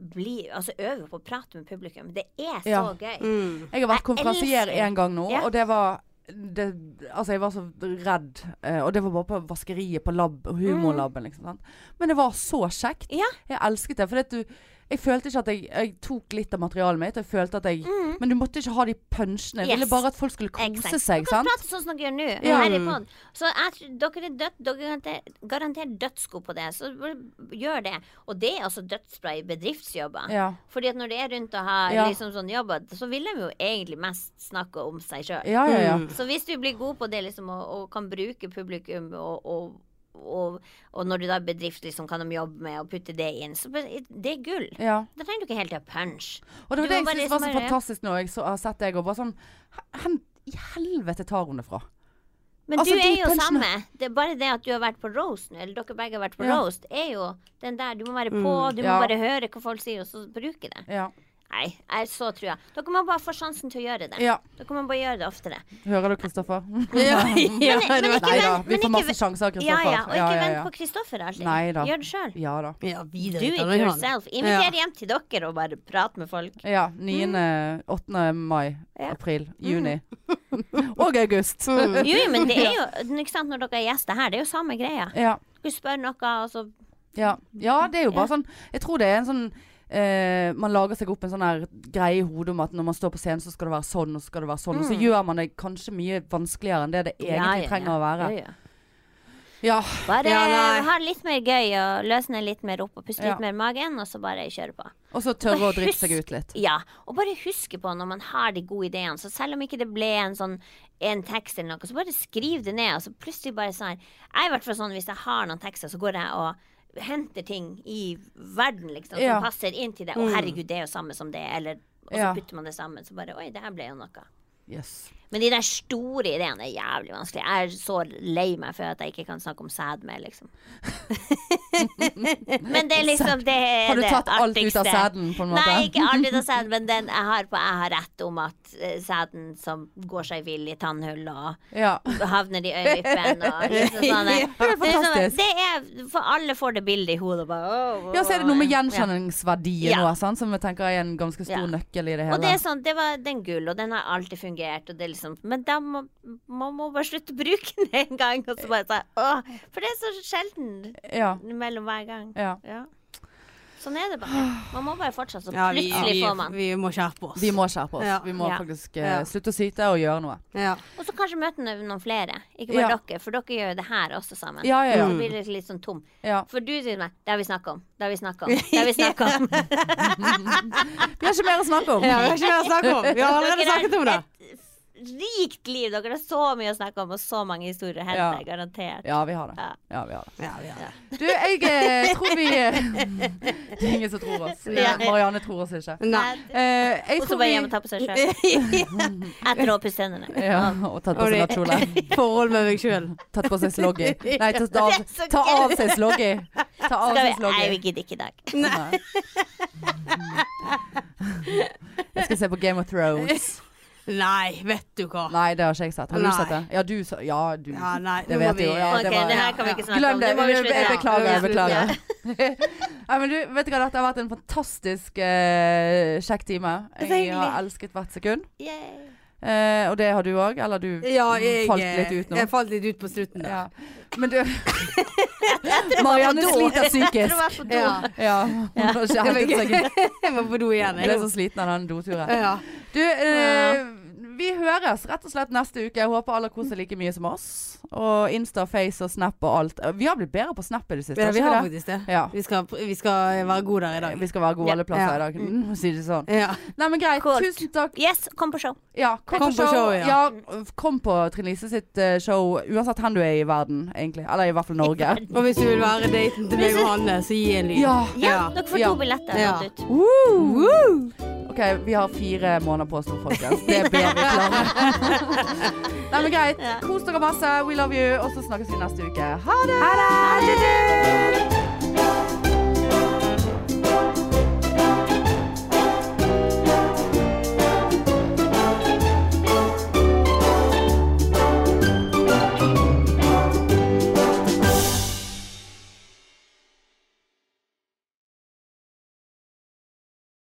bli, altså, øve på å prate med publikum. Det er så Ja. gøy. Mm. Jeg har vært Jeg konferansier elsker- en gang nå, Ja. og det var det, altså jeg var så redd, eh, og det var bare på vaskeriet på lab, Mm. humorlaben. Liksom, sant? Men det var så kjekt. Ja. Jeg elsket det. For at du, jeg følte ikke at jeg, jeg tok litt av materialet mitt. og Jeg følte at jeg, Men du måtte ikke ha de punchene. Jeg Mm. Yes. ville bare at folk skulle kose Exakt. seg. Dere kan Sant? prate sånn som dere gjør nå. Ja. Mm. Her i podden. Så jeg tror dere er dødt, dere er garante- garantert dødsgode på det. Så bare gjør det. Og det er altså dødsbra i bedriftsjobber. Ja. Fordi at når det er rundt å ha Ja. liksom sånn jobber, så vil de jo egentlig mest snakke om seg sjøl. Ja, ja, ja. Mm. Så hvis du blir god på det liksom, og, og kan bruke publikum, og, og, og, og når du da er bedrift, liksom, kan de jobbe med å putte det inn, så bare- det er gull. ja. Da trenger du ikke helt til å punch. Og det Du var det må jeg bare syntes var så liksom bare- fantastisk nå. Jeg så, har sett deg og bare sånn Hvor i helvete tar hun det fra? Men Altså, du de er jo punchene- samme. Det er bare det at du har vært på roast nå, eller dere begge har vært på Ja. Mm, roast, er jo den der Du må være på, du må Ja. bare høre hva folk sier, og så bruke det. Ja. Nei, jeg er så trua. Dere må bare få sjansen til å gjøre det. ja. Dere må bare gjøre det oftere. Hører du, Kristoffer? Ja, ja, men det var- ikke Nei da. vent- Vi men får ikke masse vent- sjanser av Ja, Kristoffer. ja. Og ikke vent på Kristoffer alltid. Nei da. Gjør det sjøl. Ja da. ja, videre Do it kan han gjøre. yourself. Inviter hjem til dere og bare prate med folk. Ja. 9. 8. mai, Mm. Ja. Mm. april, juni. Og august. Mm. Jo, jo, men det er jo ikke sant, Når dere er gjester her, det er jo samme greia. Ja, Du spør noe, og så ja. ja, det er jo bare sånn Jeg tror det er en sånn eh, man lager seg opp en sånn her greie i hodet om at når man står på scenen, så skal det være sånn, og så skal det være sånn. Og så gjør man det kanskje mye vanskeligere enn det det egentlig Mm. Ja, ja, ja. trenger å være. Ja, ja. Ja. Bare Ja, nei. ha det litt mer gøy og løsne litt mer opp og puste Ja. litt mer i magen, og så bare kjøre på. Og så tørre å Bare drite seg husk- ut litt. Ja. Og bare huske på når man har de gode ideene, så selv om ikke det ble en sånn en tekst eller noe, så bare skriv det ned, og så plutselig bare sånn her Jeg er i hvert fall sånn hvis jeg har noen tekster, så går jeg og henter ting i verden, liksom, som Ja. Mm. passer inn til det. Å, herregud, det er jo samme som det, eller Og så Ja. putter man det sammen, så bare Oi, det her ble jo noe. Yes. Men de der store ideene er jævlig vanskelig. Jeg er så lei meg for at jeg ikke kan snakke om sæd mer, liksom. Men det er liksom det er Har du det tatt alt ut av artigste. sæden, på en måte? Nei, ikke alt ut av sæden, men den jeg har på jeg har rett om at eh, sæden som går seg vill i tannhull og Ja. havner i øyevippen og liksom sånn. Det er fantastisk. Det er, for alle får det bildet i hodet. Bare, «Åh, åh, Ja, så er det noe med åh». gjenkjenningsverdien Ja. nå, sant? som jeg tenker er en ganske stor Ja. nøkkel i det Og det hele. er sånn, det var den gull, og den har alltid fungert. Og det er liksom, men da må man må bare slutte å bruke den en gang. Og så bare sånn, åh, for det er så sjelden Ja. mellom hver gang. ja. Ja. Sånn er det bare. Man må bare fortsette, så Ja, vi, plutselig vi, får man. vi må skjerpe oss. Vi må skjerpe oss. Ja. Vi må Ja. faktisk eh, Ja. slutte å syte og gjøre noe. Ja. Og så kanskje møte no- noen flere. Ikke bare Ja. dere, for dere gjør jo det her også sammen. Ja, ja, ja. Så blir det litt sånn tom. Ja. For du sier til meg 'det har vi snakka om', 'det har vi snakka om'. Det har vi snakket om. Vi har ikke mer å snakke om. Ja, vi har ikke mer å snakke om. Vi har allerede Dere har snakket om det. Et rikt liv. Dere har så mye å snakke om og så mange historier å hente. Ja. Garantert. Ja, vi har det. Ja. Ja, vi har det. Ja, vi har det. Du, jeg eh, tror vi Det er ingen som tror oss. Ja. Marianne tror oss ikke. Nei. Eh, jeg Og så tror bare vi hjem og ta på seg sjøl. Etter å pusse tennene. ja, og tatt på Og det- seg nattkjole. Forhold med meg sjøl. Tatt på seg sloggy. Nei, tatt er av, så ta gøy. av seg sloggy. Ta av seg Skal vi Nei, vi sloggy. gidder ikke i dag. Nei. Jeg skal se på Game of Thrones. Nei, vet du hva. Nei, det har ikke jeg sett. Har du Nei. sett det? Ja, du sa Ja, du. Ja, nei, Det nå vet må jeg jo, vi- ja, Ok, det var- det her kan vi ikke snakke Glem om. det. Det må vi Jeg, slutte jeg med. beklager. Ja, jeg vi beklager. slutter. Nei, men du, vet du hva, Dette har vært en fantastisk eh, kjekk time. Så Jeg hyggelig. har elsket hvert sekund. Yay. Eh, og det har du òg, eller du mm, Ja, jeg falt litt ut nå? Jeg falt litt ut på slutten. der. Ja. Men du Marianne do. sliter Jeg tror jeg psykisk. er på do. Ja. Ja, hun har ikke hentet seg inn. Jeg må på do igjen. Hun ble Jeg. så sliten av den doturen. Ja. Du, eh, vi høres rett og slett neste uke. Jeg håper alle koser like mye som oss. Og Insta, Face og Snap og alt. Eh, Vi har blitt bedre på Snap i det siste. Ja, vi ikke har det? faktisk det. Ja. Vi skal, vi skal være gode der i dag. Vi skal være gode Ja. alle plasser Ja. i dag. Mm, si det sånn. Ja. Nei, men greit. Kort. Tusen takk. Yes, kom på show. Ja, kom, Kom på på show. show, ja. ja. kom på Trine Lise sitt eh, show, uansett hvor du er i verden, egentlig. Eller i hvert fall Norge. Og hvis du vil være daten til meg og Hanne, så gi en lyd. Ja. Ja, dere får Ja. to billetter. Ja. lagt ut. Woo! OK, vi har fire måneder på oss nå, folkens. Det bør vi klare. Nei, men greit. Kos dere masse. We love you. Og så snakkes vi neste uke. Ha det! Ha det!